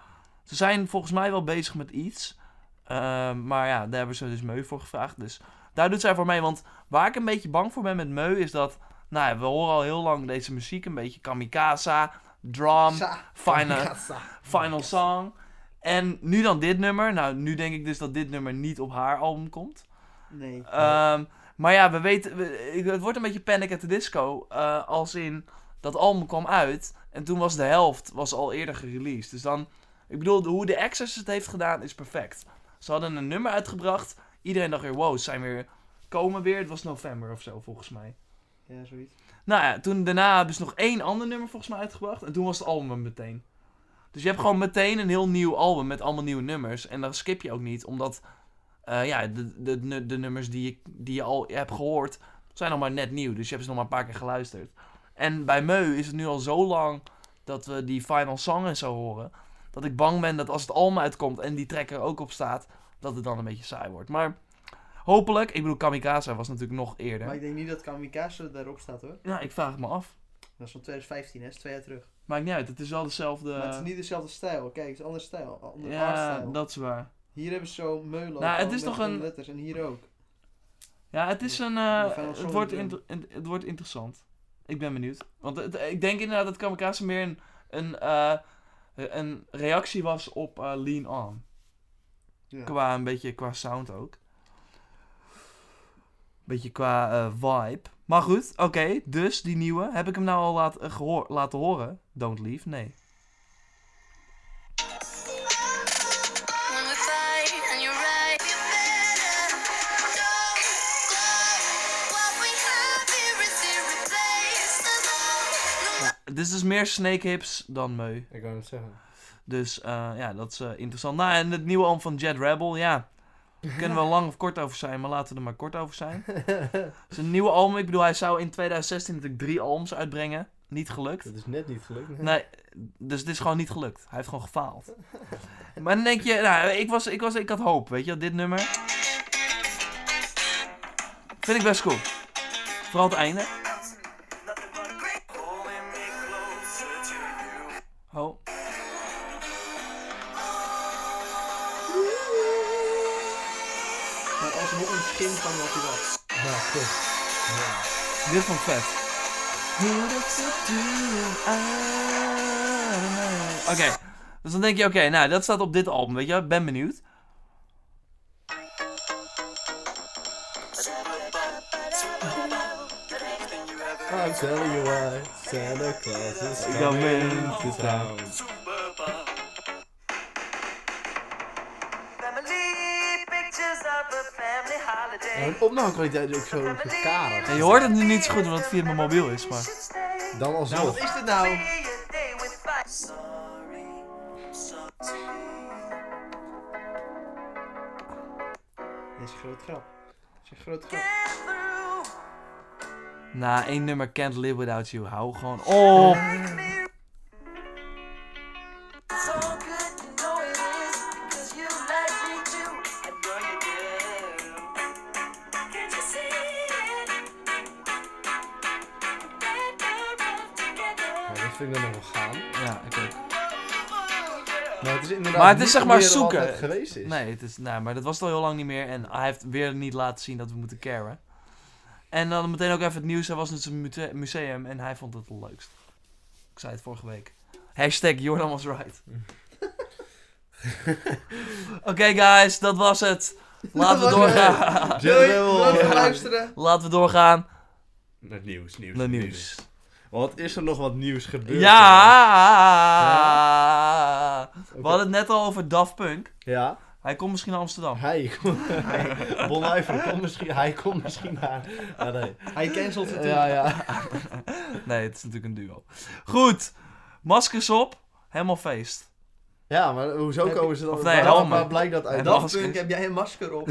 Speaker 1: Ze zijn volgens mij wel bezig met iets. Ehm, maar ja, daar hebben ze dus Meu voor gevraagd. Dus daar doet zij voor mee. Want waar ik een beetje bang voor ben met Meu is dat... Nou ja, we horen al heel lang deze muziek. Een beetje kamikaze, drum,
Speaker 2: Sa.
Speaker 1: final,
Speaker 2: Sa.
Speaker 1: final song. En nu dan dit nummer. Nou, nu denk ik dus dat dit nummer niet op haar album komt.
Speaker 2: Nee.
Speaker 1: Ehm, maar ja, we weten, we- ik- het wordt een beetje Panic at the Disco. eh, als in, dat album kwam uit en toen was de helft was al eerder gereleased. Dus dan, ik bedoel, de- hoe de Access het heeft gedaan is perfect. Ze hadden een nummer uitgebracht. Iedereen dacht weer, wow, ze zijn weer, komen weer. Het was november of zo, volgens mij.
Speaker 2: Ja, zoiets.
Speaker 1: Nou ja, toen daarna hebben ze nog één ander nummer volgens mij uitgebracht. En toen was het album er meteen. Dus je hebt gewoon meteen een heel nieuw album met allemaal nieuwe nummers. En dan skip je ook niet, omdat eh, ja, de, de, nu- de nummers die je, die je al hebt gehoord zijn nog maar net nieuw. Dus je hebt ze nog maar een paar keer geluisterd. En bij Meu is het nu al zo lang dat we die final song en zo horen. Dat ik bang ben dat als het album uitkomt en die track er ook op staat, dat het dan een beetje saai wordt. Maar hopelijk, ik bedoel, Kamikaze was natuurlijk nog eerder.
Speaker 2: Maar ik denk niet dat Kamikaze daarop staat hoor.
Speaker 1: Nou, ik vraag het me af.
Speaker 2: Dat is van 2015, hè? Dat is twee jaar terug.
Speaker 1: Maakt niet uit, het is wel dezelfde.
Speaker 2: Maar het is niet dezelfde stijl. Kijk, het is een ander stijl. een Ander
Speaker 1: Eh. ja,
Speaker 2: artstijl.
Speaker 1: dat is waar.
Speaker 2: Hier hebben ze zo meulen.
Speaker 1: Nou, het
Speaker 2: al
Speaker 1: is
Speaker 2: met
Speaker 1: toch een-
Speaker 2: Letters. En hier ook.
Speaker 1: Ja, het is een. eh,
Speaker 2: Maar Final
Speaker 1: het,
Speaker 2: Song
Speaker 1: wordt
Speaker 2: is een-
Speaker 1: inter- in- het wordt interessant. Ik ben benieuwd. Want het- ik denk inderdaad dat Kamikaze meer een, een, eh, een reactie was op eh, Lean On.
Speaker 2: Ja.
Speaker 1: Qua een beetje qua sound ook. Beetje qua eh, vibe. Maar goed, oké. dus die nieuwe. Heb ik hem nou al laat, eh, gehoor- laten horen? Don't leave? Nee.
Speaker 7: When we fight and you're right, you better don't go. What we have here is irreplaceable.
Speaker 1: Dit Dus is meer Snake Hips dan Meu.
Speaker 8: Ik wou het zeggen.
Speaker 1: Dus eh, ja, dat is eh, interessant. Nou, en het nieuwe album van Jet Rebel, ja. Daar kunnen we lang of kort over zijn, maar laten we er maar kort over zijn. Zijn nieuwe album, ik bedoel, hij zou in 2016 natuurlijk drie albums uitbrengen. Niet gelukt.
Speaker 3: Dat is net niet gelukt. hè?
Speaker 1: Nee, dus het is gewoon niet gelukt. Hij heeft gewoon gefaald. Maar dan denk je, nou, ik, was, ik, was, ik had hoop, weet je, dit nummer. Vind ik best cool. Vooral het einde. Oh.
Speaker 2: Maar alsnog een schim van wat hij was.
Speaker 8: Ja, klopt.
Speaker 1: Dit vond ik vet. Oké, dus dan denk je, oké, nou, dat staat op dit album, weet je, wel. ben benieuwd.
Speaker 3: I'm telling you why Santa Claus is
Speaker 1: Ik
Speaker 3: coming
Speaker 1: ben-
Speaker 3: to town. Ja, Hun opnamekwaliteit is ook zo gekarig.
Speaker 1: Ja, je hoort het nu niet zo goed, omdat het via mijn mobiel is, maar...
Speaker 2: Nou,
Speaker 3: Dan
Speaker 2: wat
Speaker 3: alsnog.
Speaker 2: is dit nou? Dit is een groot grap. Dit is een groot grap.
Speaker 1: Na één nummer, Can't Live Without You, hou gewoon op.
Speaker 7: So good, you know it is, because you like me too. I know you do. Can't you see it?
Speaker 8: Ja,
Speaker 3: Nou,
Speaker 8: dat vind ik dan nog wel gaan.
Speaker 1: Ja, oké.
Speaker 3: Maar het is inderdaad
Speaker 1: Maar het is
Speaker 3: niet
Speaker 1: zeg maar
Speaker 3: meer dan wat
Speaker 1: zoeken.
Speaker 3: het geweest is.
Speaker 1: Nee, het is, nou, maar dat was het al heel lang niet meer. En hij heeft weer niet laten zien dat we moeten caren. En dan meteen ook even het nieuws. Hij was in zijn mute- museum en hij vond het het leukst. Ik zei het vorige week. Hashtag Jordan was right. Oké guys, dat was het. Laten we
Speaker 2: Dat was het.
Speaker 1: doorgaan.
Speaker 2: Doei,
Speaker 3: Jawel.
Speaker 2: bedankt voor
Speaker 3: Ja.
Speaker 2: het luisteren.
Speaker 1: Laten we doorgaan
Speaker 8: Naar nieuws, nieuws.
Speaker 1: naar nieuws.
Speaker 3: Want is er nog wat nieuws gebeurd?
Speaker 1: Ja! We hadden het net al over Daft Punk.
Speaker 3: Ja,
Speaker 1: Hij komt misschien naar Amsterdam.
Speaker 3: hij. bon Iver komt misschien, hij komt misschien naar. Ah, nee.
Speaker 2: Hij cancelt het.
Speaker 3: Ja, ja.
Speaker 1: Nee, het is natuurlijk een duo. Goed. Maskers op. Helemaal feest.
Speaker 3: Ja, maar hoezo
Speaker 2: Heb je-
Speaker 3: komen ze dan...
Speaker 1: Of nee,
Speaker 3: waar,
Speaker 1: helmen.
Speaker 3: waar blijkt dat
Speaker 1: En
Speaker 3: uit
Speaker 2: dat
Speaker 3: dan?
Speaker 1: maskers.
Speaker 2: punt heb jij een masker op.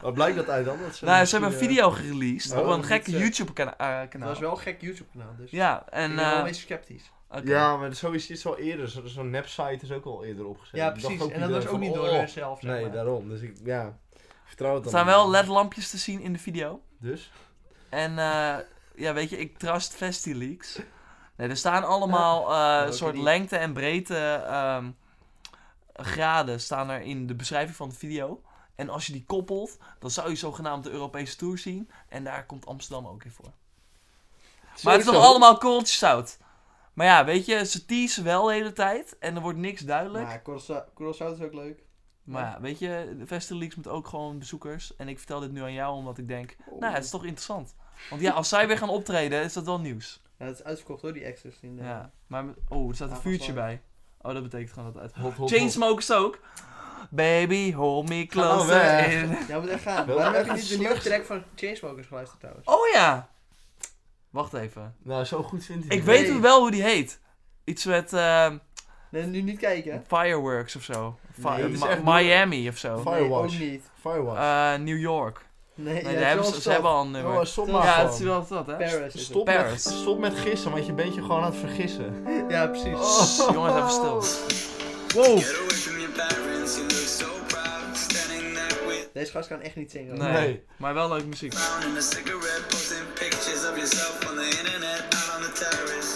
Speaker 3: Waar blijkt dat uit dan? Dat
Speaker 1: Nou, ze hebben een
Speaker 3: misschien, eh,
Speaker 1: video gereleased
Speaker 3: Oh,
Speaker 1: op een
Speaker 2: dat
Speaker 1: gekke
Speaker 2: is, eh,
Speaker 1: YouTube-kanaal.
Speaker 2: Dat was wel een gek YouTube-kanaal, dus
Speaker 1: Ja, en...
Speaker 2: ik ben wel
Speaker 1: eh,
Speaker 2: een beetje sceptisch.
Speaker 1: oké.
Speaker 3: Ja, maar zo is dit al eerder. Zo- Zo'n nep-site is ook al eerder opgezet.
Speaker 2: Ja,
Speaker 3: Ik dacht
Speaker 2: precies. En dat
Speaker 3: iedereen
Speaker 2: was ook
Speaker 3: van,
Speaker 2: niet door
Speaker 3: oh,
Speaker 2: hunzelf, zeg
Speaker 3: Nee,
Speaker 2: maar.
Speaker 3: daarom. Dus ik, ja, ik vertrouw het
Speaker 1: Er
Speaker 3: dan
Speaker 1: zijn
Speaker 3: niet.
Speaker 1: wel ledlampjes te zien in de video.
Speaker 3: Dus?
Speaker 1: En eh, ja, weet je, ik trust FestiLeaks. Nee, er staan allemaal eh
Speaker 2: Welke
Speaker 1: soort
Speaker 2: niet?
Speaker 1: lengte en breedte ehm, graden staan er in de beschrijving van de video. En als je die koppelt, dan zou je zogenaamd de Europese Tour zien. En daar komt Amsterdam ook in voor. Maar het is toch allemaal kooltjes zout. Maar ja, weet je, ze teasen wel de hele tijd. En er wordt niks duidelijk.
Speaker 2: Maar Curaçao Curaçao is ook leuk.
Speaker 1: Maar ja, weet je, de Vestelix moet ook gewoon bezoekers. En ik vertel dit nu aan jou, omdat ik denk, nou, het is toch interessant. Want ja, als zij weer gaan optreden, is dat wel nieuws.
Speaker 2: Ja, het is uitverkocht hoor, die extras. In eh, de...
Speaker 1: Ja, maar, met- oh, er staat een
Speaker 2: Ja,
Speaker 1: vuurtje
Speaker 2: vast
Speaker 1: bij. Oh, dat betekent gewoon dat het uit...
Speaker 3: Hop, hop, hop.
Speaker 1: Chainsmokers ook. Baby, hold me
Speaker 3: nou
Speaker 1: closer
Speaker 3: weg.
Speaker 1: in.
Speaker 2: Jij moet echt gaan.
Speaker 3: Wel
Speaker 2: Waarom heb
Speaker 3: echt
Speaker 2: je niet de
Speaker 3: een
Speaker 2: nieuwe
Speaker 3: slecht-
Speaker 2: track van Chainsmokers geluisterd trouwens?
Speaker 1: Oh ja! Wacht even.
Speaker 3: Nou, zo goed vindt hij
Speaker 1: Ik
Speaker 3: het.
Speaker 1: weet
Speaker 2: Nee.
Speaker 1: wel hoe die heet. Iets met eh,
Speaker 2: Nee, nu niet kijken.
Speaker 1: fireworks of zo. Fi-
Speaker 2: Nee, het is
Speaker 1: Ma-
Speaker 3: echt-
Speaker 1: Miami of zo.
Speaker 3: Fi- Firewatch.
Speaker 2: Nee, ook niet.
Speaker 3: Firewatch.
Speaker 1: Eh, New York.
Speaker 2: Nee,
Speaker 1: Nee, daar hebben ze, ze hebben al een nummer.
Speaker 3: Oh, stop
Speaker 2: Ja,
Speaker 3: maar
Speaker 1: ja,
Speaker 3: gewoon.
Speaker 1: het is wel dat, hè?
Speaker 2: Paris is
Speaker 3: Dus Stop met,
Speaker 1: Paris.
Speaker 3: stop met gissen, want je bent je gewoon aan het vergissen.
Speaker 2: het. Ja, precies.
Speaker 1: Jongens, even stil.
Speaker 3: Oh.
Speaker 1: Wow.
Speaker 4: Get away from your parents, you look so proud. Standing there with
Speaker 2: Deze gast kan echt niet zingen. hoor.
Speaker 1: Nee,
Speaker 3: Nee.
Speaker 1: maar wel leuke muziek.
Speaker 4: frown and a cigarette, posting pictures of yourself on the internet, out on the terrace.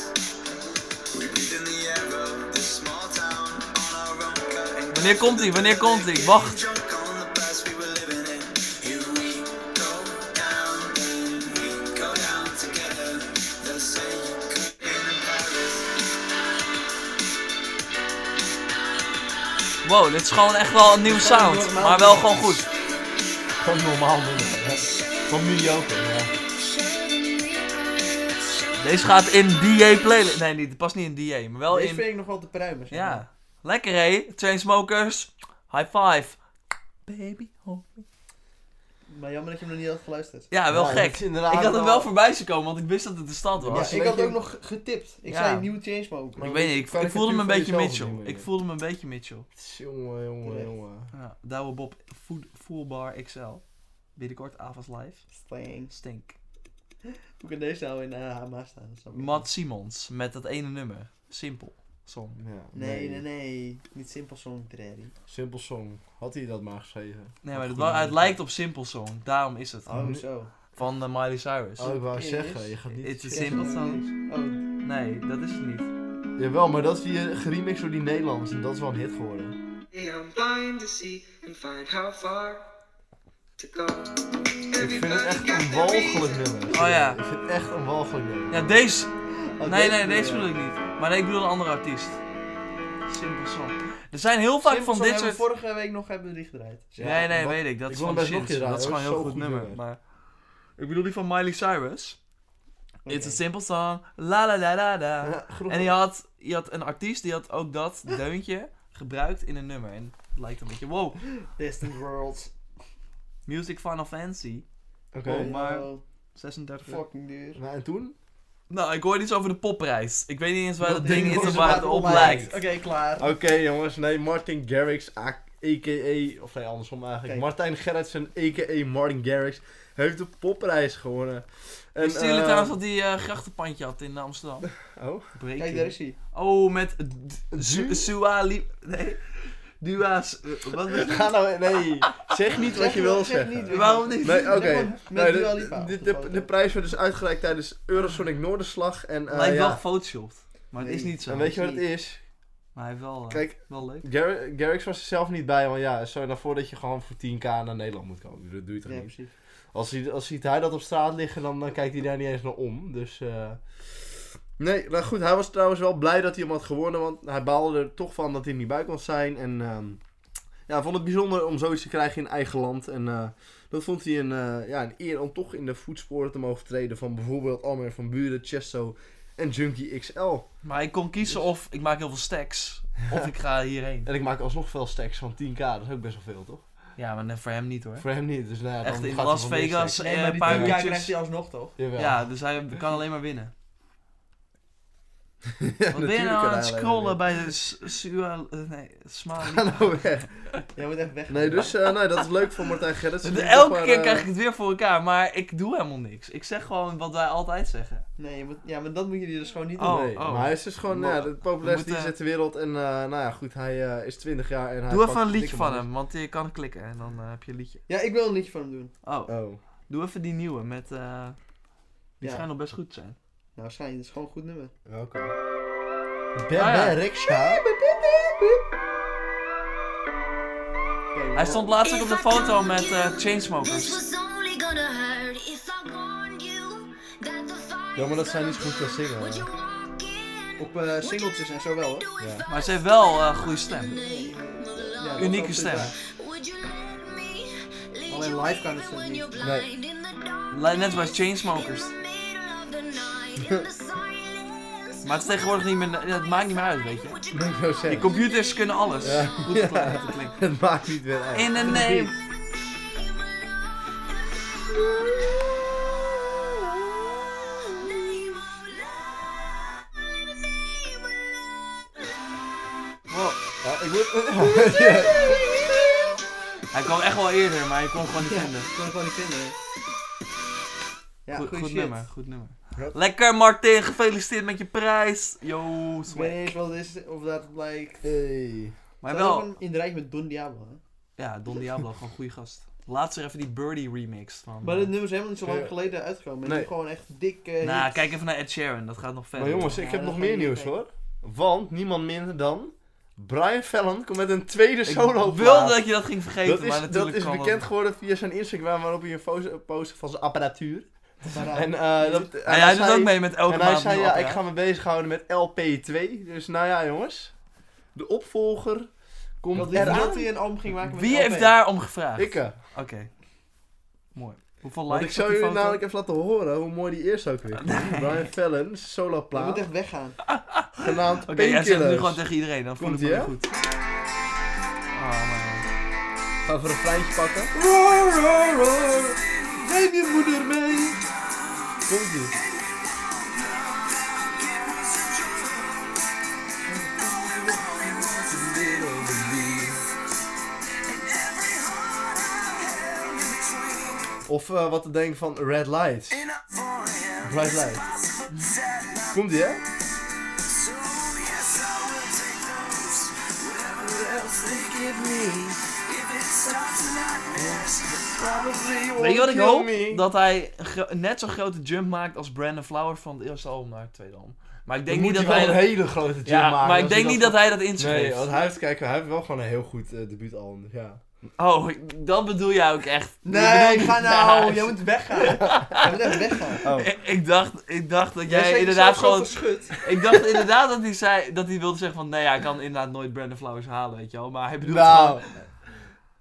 Speaker 4: We breathe in the air of this small town on our own cutting.
Speaker 1: Wanneer komt ie? Wanneer komt ie? Wacht.
Speaker 4: Drunk on the past we were living in. Here we go down, then we go down together. They'll say you could be in Paris.
Speaker 1: Wow, dit is gewoon echt wel een nieuwe sound. Maar wel gewoon goed.
Speaker 3: Gewoon normaal doen. hè. Gewoon mediocre, ja.
Speaker 1: Deze gaat in DA playlist. Nee, niet, het past niet in DA, maar wel
Speaker 2: Deze
Speaker 1: in.
Speaker 2: vind ik nog wel te pruimen. zeg maar.
Speaker 1: Ja. Lekker hé, Chainsmokers. High five. Baby. home.
Speaker 2: Maar jammer dat je hem nog niet had geluisterd.
Speaker 1: Ja, wel
Speaker 3: Ja, dat
Speaker 1: gek.
Speaker 3: is
Speaker 1: Ik
Speaker 3: inderdaad
Speaker 1: had hem wel
Speaker 3: wel-
Speaker 1: voorbij zien komen, want ik wist dat het de stad
Speaker 3: Ja,
Speaker 1: was.
Speaker 2: Ja,
Speaker 3: een
Speaker 2: ik had
Speaker 3: beetje-
Speaker 2: ook nog getipt. Ik
Speaker 1: Ja.
Speaker 2: zei nieuwe Chainsmokers.
Speaker 1: Ik weet niet, ik, ik voelde me een beetje Mitchell. Ik voelde me een beetje Mitchell.
Speaker 3: Jongen, jongen,
Speaker 2: Terecht.
Speaker 3: jongen.
Speaker 1: Ja, Douwe Bob Food, Fullbar XL. Binnenkort Avas Live.
Speaker 2: Thanks.
Speaker 1: Stink.
Speaker 2: Hoe kan deze nou in eh, HMA staan? Dat snap ik niet.
Speaker 1: Matt Simons met dat ene nummer. Simpel. Song.
Speaker 3: Ja,
Speaker 2: Nee, nee, nee. Niet simpel song, Trary.
Speaker 3: Simpel song. Had hij dat maar geschreven.
Speaker 1: Nee, maar het, wa- het lijkt op Simple Song. Daarom is het.
Speaker 2: Oh, zo.
Speaker 1: Van eh, Miley Cyrus.
Speaker 3: Oh, ik wou
Speaker 2: Is-
Speaker 3: zeggen, je gaat niet...
Speaker 1: It's a
Speaker 2: Ja,
Speaker 1: simple
Speaker 2: zo.
Speaker 1: song.
Speaker 2: Oh,
Speaker 1: Nee, dat is het niet.
Speaker 3: Jawel, maar dat is die geremix door die Nederlanders en dat is wel een hit geworden.
Speaker 9: I'm blind to see and find how far to go.
Speaker 3: Ik vind het echt een walgelijk nummer.
Speaker 1: Oh ja.
Speaker 3: Ik vind het echt een walgelijk nummer.
Speaker 1: Ja, deze.
Speaker 2: oh,
Speaker 1: Nee, nee, deze
Speaker 2: bedoel
Speaker 1: bedoel ik niet. Maar nee, ik bedoel een andere artiest. Simple Song. Er zijn heel vaak van
Speaker 2: Simpel song
Speaker 1: dit
Speaker 2: hebben we
Speaker 1: soort...
Speaker 2: vorige week nog hebben we die gedraaid.
Speaker 3: Ja,
Speaker 1: nee, nee,
Speaker 3: wat-
Speaker 1: weet ik. Dat
Speaker 3: ik
Speaker 1: is van
Speaker 3: wil hem best nog een
Speaker 1: Sins.
Speaker 3: keer
Speaker 1: Dat is gewoon
Speaker 3: draaien,
Speaker 1: een heel goed
Speaker 3: hoor. Zo'n
Speaker 1: nummer.
Speaker 3: goed
Speaker 1: Maar... Ik bedoel die van Miley Cyrus. It's a
Speaker 2: Oké.
Speaker 1: simple song. La la la la la.
Speaker 3: Ja, groen-
Speaker 1: En die had, die had een artiest die had ook dat deuntje gebruikt in een nummer. En het lijkt een beetje, wow,
Speaker 2: Distant Worlds.
Speaker 1: Music Final Fancy.
Speaker 3: Oké.
Speaker 1: Oh, maar-
Speaker 2: Oh,
Speaker 1: 36
Speaker 2: fucking duur.
Speaker 3: Nou, en toen?
Speaker 1: Nou, ik hoorde iets over de popprijs. Ik weet niet eens waar
Speaker 3: Dat
Speaker 1: dat ding
Speaker 3: ding
Speaker 1: is en
Speaker 3: is
Speaker 1: waar het op lijkt.
Speaker 2: Oké, klaar.
Speaker 3: Oké jongens, nee, Martin Garrix, a- a.k.a. Of nee, andersom eigenlijk.
Speaker 2: Kijk.
Speaker 3: Martijn Gerritsen, a.k.a. Martin Garrix, heeft de popprijs gewonnen. En,
Speaker 1: Wisten jullie
Speaker 3: eh,
Speaker 1: trouwens dat die eh, grachtenpandje had in Amsterdam?
Speaker 3: Oh?
Speaker 1: Breaking.
Speaker 2: Kijk, daar is hij.
Speaker 1: Oh, met d- Su- Sua Li... Nee. Dua's... eh, Wat was
Speaker 3: Ga nou, nee. Zeg niet wat je wil zeggen.
Speaker 2: niet.
Speaker 1: Waarom niet?
Speaker 3: Nee, oké.
Speaker 2: Zeg maar, met
Speaker 3: Nee,
Speaker 2: Dua
Speaker 3: de-
Speaker 2: Lipa op
Speaker 3: de,
Speaker 2: de
Speaker 3: de,
Speaker 2: foto.
Speaker 3: de prijs werd dus uitgereikt tijdens Eurosonic Noorderslag. En, eh,
Speaker 1: Lijkt wel
Speaker 3: ja.
Speaker 1: gefotoshopt. Maar het is
Speaker 2: Nee.
Speaker 1: niet zo.
Speaker 3: en weet je wat het is?
Speaker 1: Maar hij heeft wel, eh,
Speaker 3: Kijk,
Speaker 1: wel leuk.
Speaker 3: Gar- Garrix was er zelf niet bij, want ja, stel je nou voor dat je gewoon voor 10k naar Nederland moet komen. Dat doe je toch
Speaker 2: Ja,
Speaker 3: niet?
Speaker 2: precies.
Speaker 3: Als, hij, als ziet hij dat op straat liggen, dan, dan kijkt hij daar niet eens naar om. Dus. eh, Nee, nou goed, hij was trouwens wel blij dat hij hem had gewonnen. Want hij baalde er toch van dat hij er niet bij kon zijn. En ehm, ja, hij vond het bijzonder om zoiets te krijgen in eigen land. En eh, dat vond hij een, eh, ja, een eer om toch in de voetsporen te mogen treden. Van bijvoorbeeld Almer van Buren, Chesto en Junkie XL.
Speaker 1: Maar ik kon kiezen of ik maak heel veel stacks, of ik ga hierheen.
Speaker 3: En ik maak alsnog veel stacks van 10k. Dat is ook best wel veel, toch?
Speaker 1: Ja, maar net voor hem niet hoor.
Speaker 3: Voor hem niet. Dus, nou, ja, dan
Speaker 1: Echt in
Speaker 3: gaat hij
Speaker 1: Las
Speaker 3: voor meer
Speaker 1: Vegas,
Speaker 3: stacks.
Speaker 1: eh,
Speaker 2: maar
Speaker 1: een
Speaker 2: die
Speaker 1: paar
Speaker 3: tien
Speaker 2: ja.
Speaker 3: jaar
Speaker 1: uurtjes.
Speaker 2: krijgt hij alsnog toch?
Speaker 3: Jawel.
Speaker 1: Ja, dus hij kan alleen maar winnen. Wat ben je nou aan het scrollen
Speaker 3: bij...
Speaker 1: bij de s- Sua... eh, Nee, Smali.
Speaker 3: Hallo weg.
Speaker 2: Jij moet even weg.
Speaker 3: Nee, dus eh, nee, dat is leuk voor Martijn Gerritsen. Die
Speaker 1: Elke
Speaker 3: nog maar,
Speaker 1: keer
Speaker 3: eh,
Speaker 1: krijg ik het weer voor elkaar, maar ik doe helemaal niks. Ik zeg gewoon wat wij altijd zeggen.
Speaker 2: Nee, je moet, ja, maar dat moet je dus gewoon niet doen.
Speaker 1: Oh,
Speaker 3: nee,
Speaker 1: oh.
Speaker 3: maar hij is dus gewoon ja, de populairste
Speaker 1: moeten-
Speaker 3: die zit ter wereld. En eh, nou ja, goed, hij eh, is 20 jaar en hij
Speaker 1: Doe
Speaker 3: pakt
Speaker 1: even een liedje
Speaker 3: dikke
Speaker 1: van
Speaker 3: mannen.
Speaker 1: hem, want je kan klikken en dan eh, heb je een liedje.
Speaker 2: Ja, ik wil een liedje van hem doen.
Speaker 1: Oh,
Speaker 3: Oh.
Speaker 1: doe even die nieuwe met... eh, die
Speaker 2: Ja.
Speaker 1: schijnt nog best goed te zijn.
Speaker 2: Nou, waarschijnlijk. Dat is gewoon een goed nummer.
Speaker 8: Welkom.
Speaker 1: Ah, ja.
Speaker 3: Riksha.
Speaker 1: Hij stond laatst ook op de foto met eh, Chainsmokers.
Speaker 3: Ja, maar dat zijn niet zo goed kan zingen. hoor.
Speaker 2: Op eh singeltjes en zo wel, hoor.
Speaker 1: Maar ze heeft wel eh, een goede stem.
Speaker 2: Ja, dat
Speaker 1: Unieke
Speaker 2: is
Speaker 1: stem.
Speaker 2: wel Alleen live kan het zo niet.
Speaker 3: Nee.
Speaker 1: Li- Net zoals Chainsmokers. Maar het is tegenwoordig niet meer... Het maakt niet meer uit, weet je.
Speaker 3: Dat ik zo
Speaker 1: Die
Speaker 3: zeggen.
Speaker 1: computers kunnen alles.
Speaker 3: Ja.
Speaker 1: Goed het klinkt, goed het klinkt.
Speaker 3: Het maakt niet weer uit.
Speaker 1: In the name... Wow.
Speaker 3: Ja, ik moet... Ja.
Speaker 1: Hij kwam echt wel eerder, maar je kon gewoon niet
Speaker 2: Ja,
Speaker 1: vinden.
Speaker 2: ik kon het gewoon niet vinden. hè. Ja,
Speaker 1: goed,
Speaker 2: goed,
Speaker 1: goed
Speaker 2: shit.
Speaker 1: nummer, goed nummer.
Speaker 3: Ja.
Speaker 1: Lekker Martin, gefeliciteerd met je prijs. Yo,
Speaker 2: Ik weet
Speaker 1: swag.
Speaker 2: niet eens wat het is, of dat lijkt.
Speaker 3: Hey.
Speaker 1: Maar
Speaker 2: Dat is
Speaker 1: wel,
Speaker 2: gewoon in de rij met Don Diablo. Hè?
Speaker 1: ja, Don Diablo, gewoon goede gast. Laatst weer even die Birdie remix van.
Speaker 2: Maar
Speaker 1: eh,
Speaker 2: dit nummer is helemaal niet zo lang
Speaker 3: Ja.
Speaker 2: geleden uitgekomen. Het
Speaker 3: Nee.
Speaker 2: is gewoon echt dik. eh,
Speaker 1: nou,
Speaker 2: hits.
Speaker 1: kijk even naar Ed Sheeran, dat gaat nog verder.
Speaker 3: Maar jongens,
Speaker 2: Ja,
Speaker 3: ik heb
Speaker 2: dat
Speaker 3: nog
Speaker 2: is
Speaker 3: meer
Speaker 2: gewoon
Speaker 3: nieuws
Speaker 2: niet
Speaker 3: hoor. Want niemand minder dan Brian Fallon komt met een tweede
Speaker 1: ik
Speaker 3: solo
Speaker 1: wilde dat je dat ging vergeten,
Speaker 3: dat is,
Speaker 1: maar
Speaker 3: dat
Speaker 1: natuurlijk
Speaker 3: is
Speaker 1: kwam
Speaker 3: bekend
Speaker 1: het-
Speaker 3: geworden via zijn Instagram waarop hij een foto postte van zijn apparatuur.
Speaker 2: Maar, eh,
Speaker 3: En, eh, dat, en
Speaker 1: Ja, hij doet
Speaker 3: zei-
Speaker 1: ook mee met elke
Speaker 3: En hij
Speaker 1: maand.
Speaker 3: zei
Speaker 1: nieuw
Speaker 3: ja,
Speaker 1: op,
Speaker 3: ik ga me bezighouden met LP2. Dus nou ja jongens, de opvolger
Speaker 2: dat
Speaker 3: komt
Speaker 2: liep dat
Speaker 3: eraan.
Speaker 2: hij een album ging maken met
Speaker 1: Wie
Speaker 2: LP.
Speaker 1: heeft daarom gevraagd?
Speaker 3: Ik, eh,
Speaker 1: Oké. Mooi. Hoeveel
Speaker 3: want ik
Speaker 1: likes
Speaker 3: zou
Speaker 1: had die
Speaker 3: jullie
Speaker 1: foto?
Speaker 3: namelijk even laten horen hoe mooi die eerst ook weer. Brian Fallon, solo
Speaker 2: Je moet
Speaker 3: plaat,
Speaker 2: echt weggaan.
Speaker 3: genaamd
Speaker 1: Oké, hij zegt het nu gewoon
Speaker 3: Painkillers.
Speaker 1: tegen iedereen, dan voel ik
Speaker 3: Komt
Speaker 1: me
Speaker 3: ie, hè?
Speaker 1: goed. Oh, man.
Speaker 3: Gaan we even een refreintje pakken.
Speaker 2: Roar, roar, roar. Neem je moeder mee.
Speaker 3: Komt ie. Of eh, wat te denken van Red Lights. Bright Light. Komt ie, hè?
Speaker 1: Weet je wat ik
Speaker 3: Kill
Speaker 1: hoop?
Speaker 3: me.
Speaker 1: Dat hij een gro- net zo'n grote jump maakt als Brandon Flowers van het eerste album naar het tweede album. Maar ik
Speaker 3: Dan
Speaker 1: denk
Speaker 3: moet
Speaker 1: niet dat
Speaker 3: hij
Speaker 1: hij
Speaker 3: wel
Speaker 1: dat...
Speaker 3: een hele grote jump
Speaker 1: ja,
Speaker 3: maken.
Speaker 1: maar ik
Speaker 3: als
Speaker 1: denk
Speaker 3: hij
Speaker 1: niet dat hij dat
Speaker 3: Nee,
Speaker 1: inschreef.
Speaker 3: want hij heeft, kijk, hij heeft wel gewoon een heel goed eh, debuutalbum. dus Ja.
Speaker 1: Oh, ik- dat bedoel jij ook echt.
Speaker 2: Nee, ga nou.
Speaker 1: Ja,
Speaker 2: Jij moet weggaan. Jij moet echt weggaan.
Speaker 1: Ik, ik dacht, ik dacht dat
Speaker 2: Jij
Speaker 1: jij
Speaker 2: zegt
Speaker 1: inderdaad
Speaker 2: jezelf zo
Speaker 1: gewoon...
Speaker 2: verschut.
Speaker 1: Ik dacht inderdaad dat hij zei... Dat hij wilde zeggen van... Nee, ja, ik kan inderdaad nooit Brandon Flowers halen, weet je wel. Maar hij bedoelt
Speaker 3: Nou,
Speaker 1: gewoon...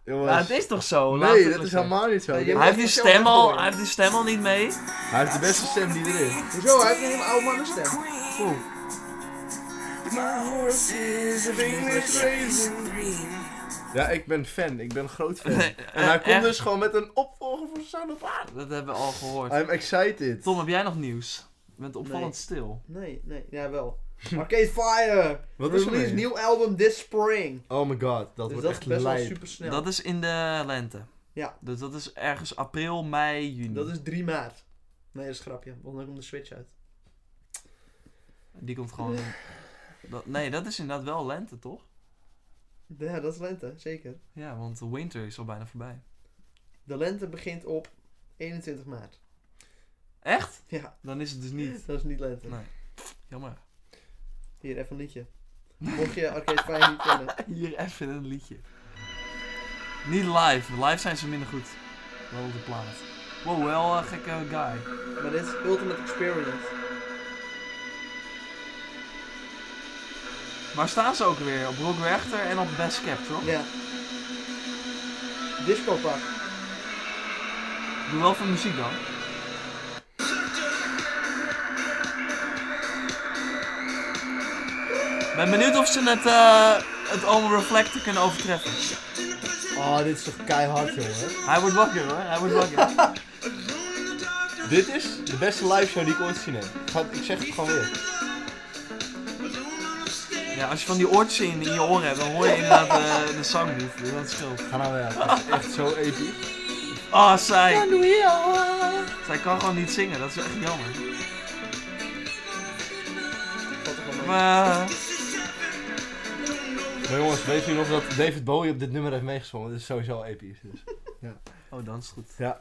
Speaker 3: jongens.
Speaker 1: Nou, het is toch zo? Laat
Speaker 3: nee,
Speaker 1: het
Speaker 3: dat
Speaker 1: ook
Speaker 3: is
Speaker 1: zo.
Speaker 3: helemaal niet zo.
Speaker 2: Ja, je
Speaker 1: Hij heeft, die
Speaker 2: Dat is heel
Speaker 1: stem al,
Speaker 2: erg
Speaker 1: hij heeft die stem al niet mee.
Speaker 3: Hij heeft de beste stem die er is.
Speaker 2: Hoezo? Hij heeft een hele oude mannenstem.
Speaker 3: Ja, ik ben fan. Ik ben groot fan.
Speaker 1: Nee,
Speaker 3: en hij
Speaker 1: eh,
Speaker 3: komt
Speaker 1: echt?
Speaker 3: dus gewoon met een opvolger voor Sound of Art.
Speaker 1: Dat hebben we al gehoord.
Speaker 3: I'm excited.
Speaker 1: Tom, heb jij nog nieuws? Je bent opvallend
Speaker 2: Nee.
Speaker 1: stil.
Speaker 2: Nee, nee, ja wel. Arcade Fire!
Speaker 3: Wat is er
Speaker 2: Release
Speaker 3: mee?
Speaker 2: nieuw album this spring.
Speaker 3: Oh my god, dat
Speaker 2: dus
Speaker 3: wordt
Speaker 2: dat
Speaker 3: echt
Speaker 2: is best wel
Speaker 3: lijp.
Speaker 2: super snel.
Speaker 1: Dat is in de lente.
Speaker 2: Ja.
Speaker 1: Dus dat is ergens april, mei, juni.
Speaker 2: Dat is 3 maart. Nee, dat is een grapje, want dan komt de Switch uit.
Speaker 1: Die komt gewoon in. Dat, nee, dat is inderdaad wel lente, toch?
Speaker 2: Ja, dat is lente, zeker.
Speaker 1: Ja, want de winter is al bijna voorbij.
Speaker 2: De lente begint op 21 maart.
Speaker 1: Echt?
Speaker 2: Ja,
Speaker 1: Dan is het dus niet.
Speaker 2: dat is niet lente.
Speaker 1: Nee. Jammer.
Speaker 2: Hier, even een liedje. Mocht je Arcade Fire niet kennen.
Speaker 1: Hier even een liedje. Niet live. Live zijn ze minder goed. Wel op de plaat. Wow, wel een gekke guy.
Speaker 2: Maar dit is Ultimate Experience.
Speaker 1: Maar staan ze ook weer? Op Rock Werchter en op Best Cap, toch?
Speaker 2: Ja. Disco pak.
Speaker 1: Doe wel van muziek dan. Ben benieuwd of ze het, eh het Omen Reflector kunnen overtreffen.
Speaker 3: Oh, dit is toch keihard, jongen.
Speaker 1: Hij wordt wakker hoor, hij wordt wakker.
Speaker 3: Dit is de beste live show die ik ooit gezien heb. Ik ga- Ik zeg het gewoon weer.
Speaker 1: Ja, als je van die oortjes in, in je oren hebt, dan hoor je inderdaad eh, de zang niet. Dus dat scheelt.
Speaker 3: Ga nou weg. Dat is echt zo episch.
Speaker 1: Ah, zij. Zij kan gewoon niet zingen, dat is echt jammer. Maar,
Speaker 3: Maar jongens, weet u nog dat David Bowie op dit nummer heeft meegezongen? Dat is sowieso episch. Dus.
Speaker 1: oh, dan is het goed.
Speaker 3: Ja.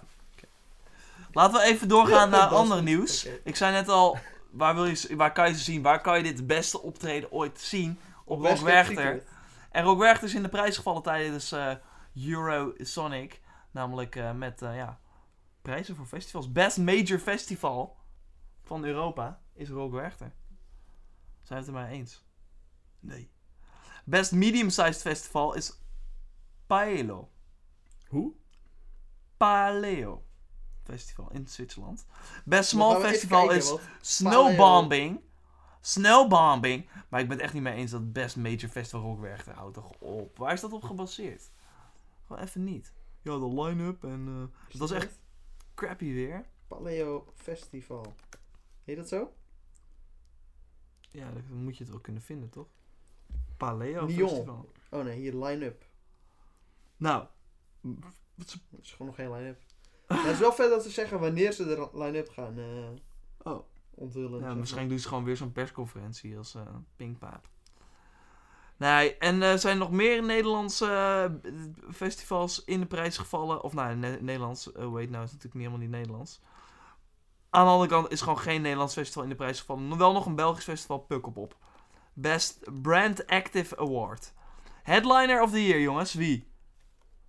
Speaker 1: Laten we even doorgaan naar ander nieuws. Ik zei net al, waar, wil je, waar kan je ze zien? Waar kan je dit beste optreden ooit zien? Op Rock Werchter. En Rock Werchter is in de prijs gevallen tijdens eh Eurosonic. Namelijk eh, met eh, ja, prijzen voor festivals. Best Major Festival van Europa is Rock Werchter. Zijn we het er maar eens? Nee. Best Medium Sized Festival is Paelo.
Speaker 3: Hoe?
Speaker 1: Paleo Festival in Zwitserland. Best Small
Speaker 2: Dan gaan we even
Speaker 1: Festival
Speaker 2: kijken,
Speaker 1: is
Speaker 2: want
Speaker 1: Snowbombing. Snowbombing. Maar ik ben het echt niet mee eens dat Best Major Festival Rock weer echt houdt toch op. Waar is dat op gebaseerd? Gewoon even niet. Ja, de line-up en... eh, dat is echt crappy weer.
Speaker 2: Paleo Festival. Heet dat zo?
Speaker 1: Ja, dan moet je het wel kunnen vinden, toch? Paleo
Speaker 2: Lyon.
Speaker 1: Festival.
Speaker 2: Oh nee, hier line-up.
Speaker 1: Nou,
Speaker 2: Het is gewoon nog geen line-up. Maar het is wel vet dat ze zeggen wanneer ze de line-up gaan eh,
Speaker 1: Oh.
Speaker 2: onthullen. zeg
Speaker 1: Ja,
Speaker 2: maar.
Speaker 1: misschien doen ze gewoon weer zo'n persconferentie als eh Pinkpaap. Nee, en eh, zijn er nog meer Nederlandse eh, festivals in de prijs gevallen? Of nou, Ne- Nederlands, weet nou, is natuurlijk niet helemaal niet Nederlands. Aan de andere kant is gewoon geen Nederlands festival in de prijs gevallen. Maar Wel nog een Belgisch festival, Pukkelpop. Best Brand Active Award. Headliner of the Year, jongens. Wie?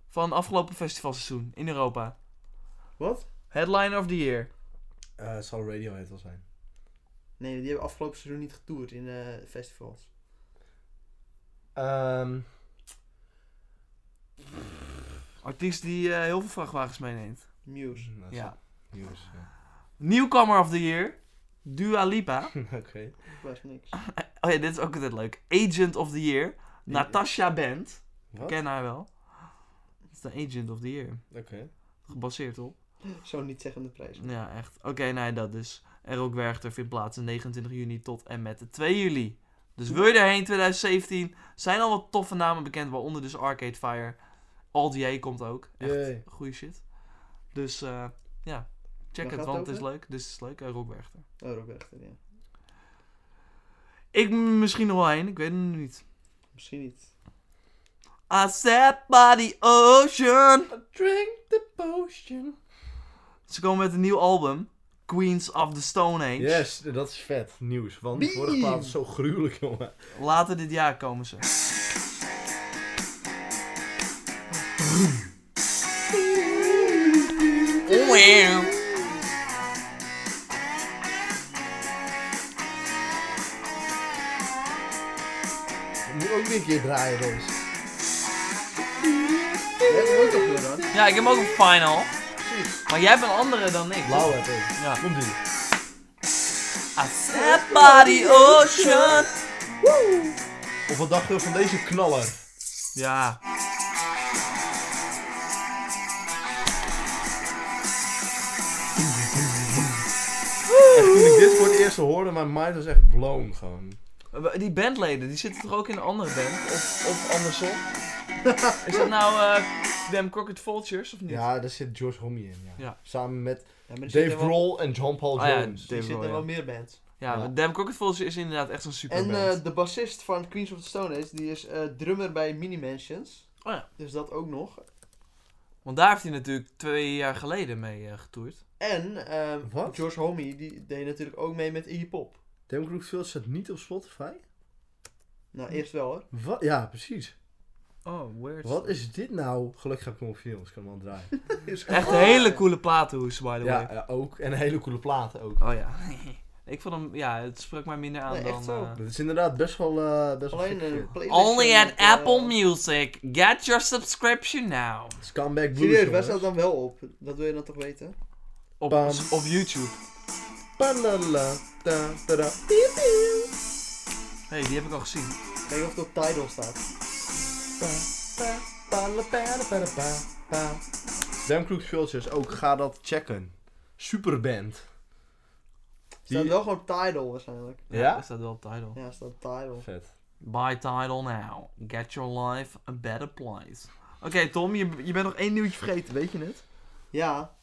Speaker 1: Van afgelopen festivalseizoen in Europa.
Speaker 2: Wat?
Speaker 1: Headliner of the Year.
Speaker 3: Eh, het zal Radiohead wel zijn.
Speaker 2: Nee, die hebben afgelopen seizoen niet getoerd in eh, festivals.
Speaker 3: Ehm,
Speaker 1: Artiest die eh, heel veel vrachtwagens meeneemt.
Speaker 2: Muse.
Speaker 1: Mm.
Speaker 3: Nou, dat is
Speaker 1: Ja.
Speaker 3: nieuws, ja.
Speaker 1: Newcomer of the Year. Dua Lipa.
Speaker 3: Oké.
Speaker 2: Dat is niks.
Speaker 1: Oh ja, dit is ook altijd leuk. Agent of the Year. Natasha Bent.
Speaker 3: Wat?
Speaker 1: Ken haar wel. Dat is de Agent of the Year.
Speaker 3: Oké.
Speaker 1: Gebaseerd op.
Speaker 2: Zo'n niet zeggende prijs.
Speaker 1: Ja, echt. Oké, nee, dat dus. En Rock Werchter vindt plaats in 29 juni tot en met de 2 juli. Dus wil je erheen 2017? Zijn al wat toffe namen bekend, waaronder dus Arcade Fire. All DA komt ook. Echt
Speaker 3: Yay.
Speaker 1: goede shit. Dus eh, ja, check
Speaker 2: Waar
Speaker 1: het,
Speaker 2: gaat
Speaker 1: want
Speaker 2: het
Speaker 1: het is
Speaker 2: over?
Speaker 1: leuk. Dus het is leuk, eh, Rock Werchter.
Speaker 2: Oh, Rob Rechter, ja.
Speaker 1: Ik m- misschien nog wel heen, ik weet het nog niet.
Speaker 2: Misschien niet.
Speaker 1: I sat by the ocean.
Speaker 3: Drink the potion.
Speaker 1: Ze komen met een nieuw album. Queens of the Stone Age.
Speaker 3: Yes, dat is vet nieuws. Want die vorige plaat is zo gruwelijk, jongen.
Speaker 1: Later dit jaar komen ze.
Speaker 3: Dat moet ook weer een keer draaien, Roos.
Speaker 2: Jij hebt hem ook al gehoord, hoor.
Speaker 1: Ja, ik heb ook een final. Maar jij bent andere dan ik.
Speaker 3: Blauw heb ik.
Speaker 1: Ja.
Speaker 3: Komt ie.
Speaker 1: I sat by the ocean.
Speaker 3: Of wat dacht je van deze knaller?
Speaker 1: Ja.
Speaker 3: Toen ik dit voor het eerst hoorde, mijn mind was echt blown gewoon.
Speaker 1: Die bandleden, die zitten toch ook in een andere band? Of, of andersom? Is dat nou eh Them Crockett Vultures of niet?
Speaker 3: Ja, daar zit George Homme in. Ja.
Speaker 1: Ja.
Speaker 3: Samen met
Speaker 2: Ja, maar er
Speaker 3: Dave
Speaker 2: zitten wel-
Speaker 3: Grohl en John Paul
Speaker 1: Ah ja,
Speaker 3: Jones.
Speaker 1: Dave
Speaker 2: Er zitten
Speaker 1: Grohl,
Speaker 2: wel
Speaker 1: ja.
Speaker 2: meer bands.
Speaker 1: Ja,
Speaker 3: Ja.
Speaker 1: Them Crockett Vultures is inderdaad echt zo'n
Speaker 2: En
Speaker 1: superband.
Speaker 2: eh, de bassist van Queens of the Stone Age, die is eh, drummer bij Mini Mansions.
Speaker 1: Oh ja.
Speaker 2: Dus dat ook nog.
Speaker 1: Want daar heeft hij natuurlijk twee jaar geleden mee eh, getoerd.
Speaker 2: En ehm,
Speaker 3: Wat?
Speaker 2: George Homie, die deed natuurlijk ook mee met Iggy Pop.
Speaker 3: Dem Crooked Fields staat niet op Spotify?
Speaker 2: Nou, eerst wel hoor.
Speaker 3: Wat? Ja, precies.
Speaker 1: Oh, weird.
Speaker 3: Wat is dit nou? Gelukkig heb ik hem op vinyl, dus ik kan hem al draaien.
Speaker 1: Echt een hele coole platenhoes, by the way.
Speaker 3: Ja, ja, ook. En hele coole platen ook.
Speaker 1: Oh ja. ik vond hem, ja, het sprak mij minder aan
Speaker 2: Nee,
Speaker 1: dan...
Speaker 2: echt zo.
Speaker 1: eh,
Speaker 3: Dat is inderdaad best wel... eh best wel
Speaker 2: Alleen
Speaker 3: gekke
Speaker 2: een
Speaker 3: shit.
Speaker 2: playlist.
Speaker 1: Only at
Speaker 2: met, eh,
Speaker 1: Apple Music. Get your subscription now.
Speaker 3: Scumbag Blues,
Speaker 2: Serieus, waar
Speaker 3: jongens.
Speaker 2: staat dan wel op? Dat wil je dan toch weten?
Speaker 1: Op,
Speaker 3: Bam.
Speaker 1: op YouTube.
Speaker 3: Padala, ta, ta, ta.
Speaker 1: hey, die heb ik al gezien.
Speaker 2: Kijk of het op Tidal staat.
Speaker 3: Pa, pa, pala, pala, pala, pa, pa. Dem Crooked Fields is ook, ga dat checken. Superband.
Speaker 2: Staat
Speaker 3: Die-
Speaker 2: wel gewoon Tidal waarschijnlijk.
Speaker 3: Ja?
Speaker 1: Is dat wel op Tidal.
Speaker 2: Ja, staat Tidal.
Speaker 3: Vet.
Speaker 1: Buy title now. Get your life a better place. Oké, Tom, je, je bent nog één nieuwtje vergeten, weet je het?
Speaker 2: Ja.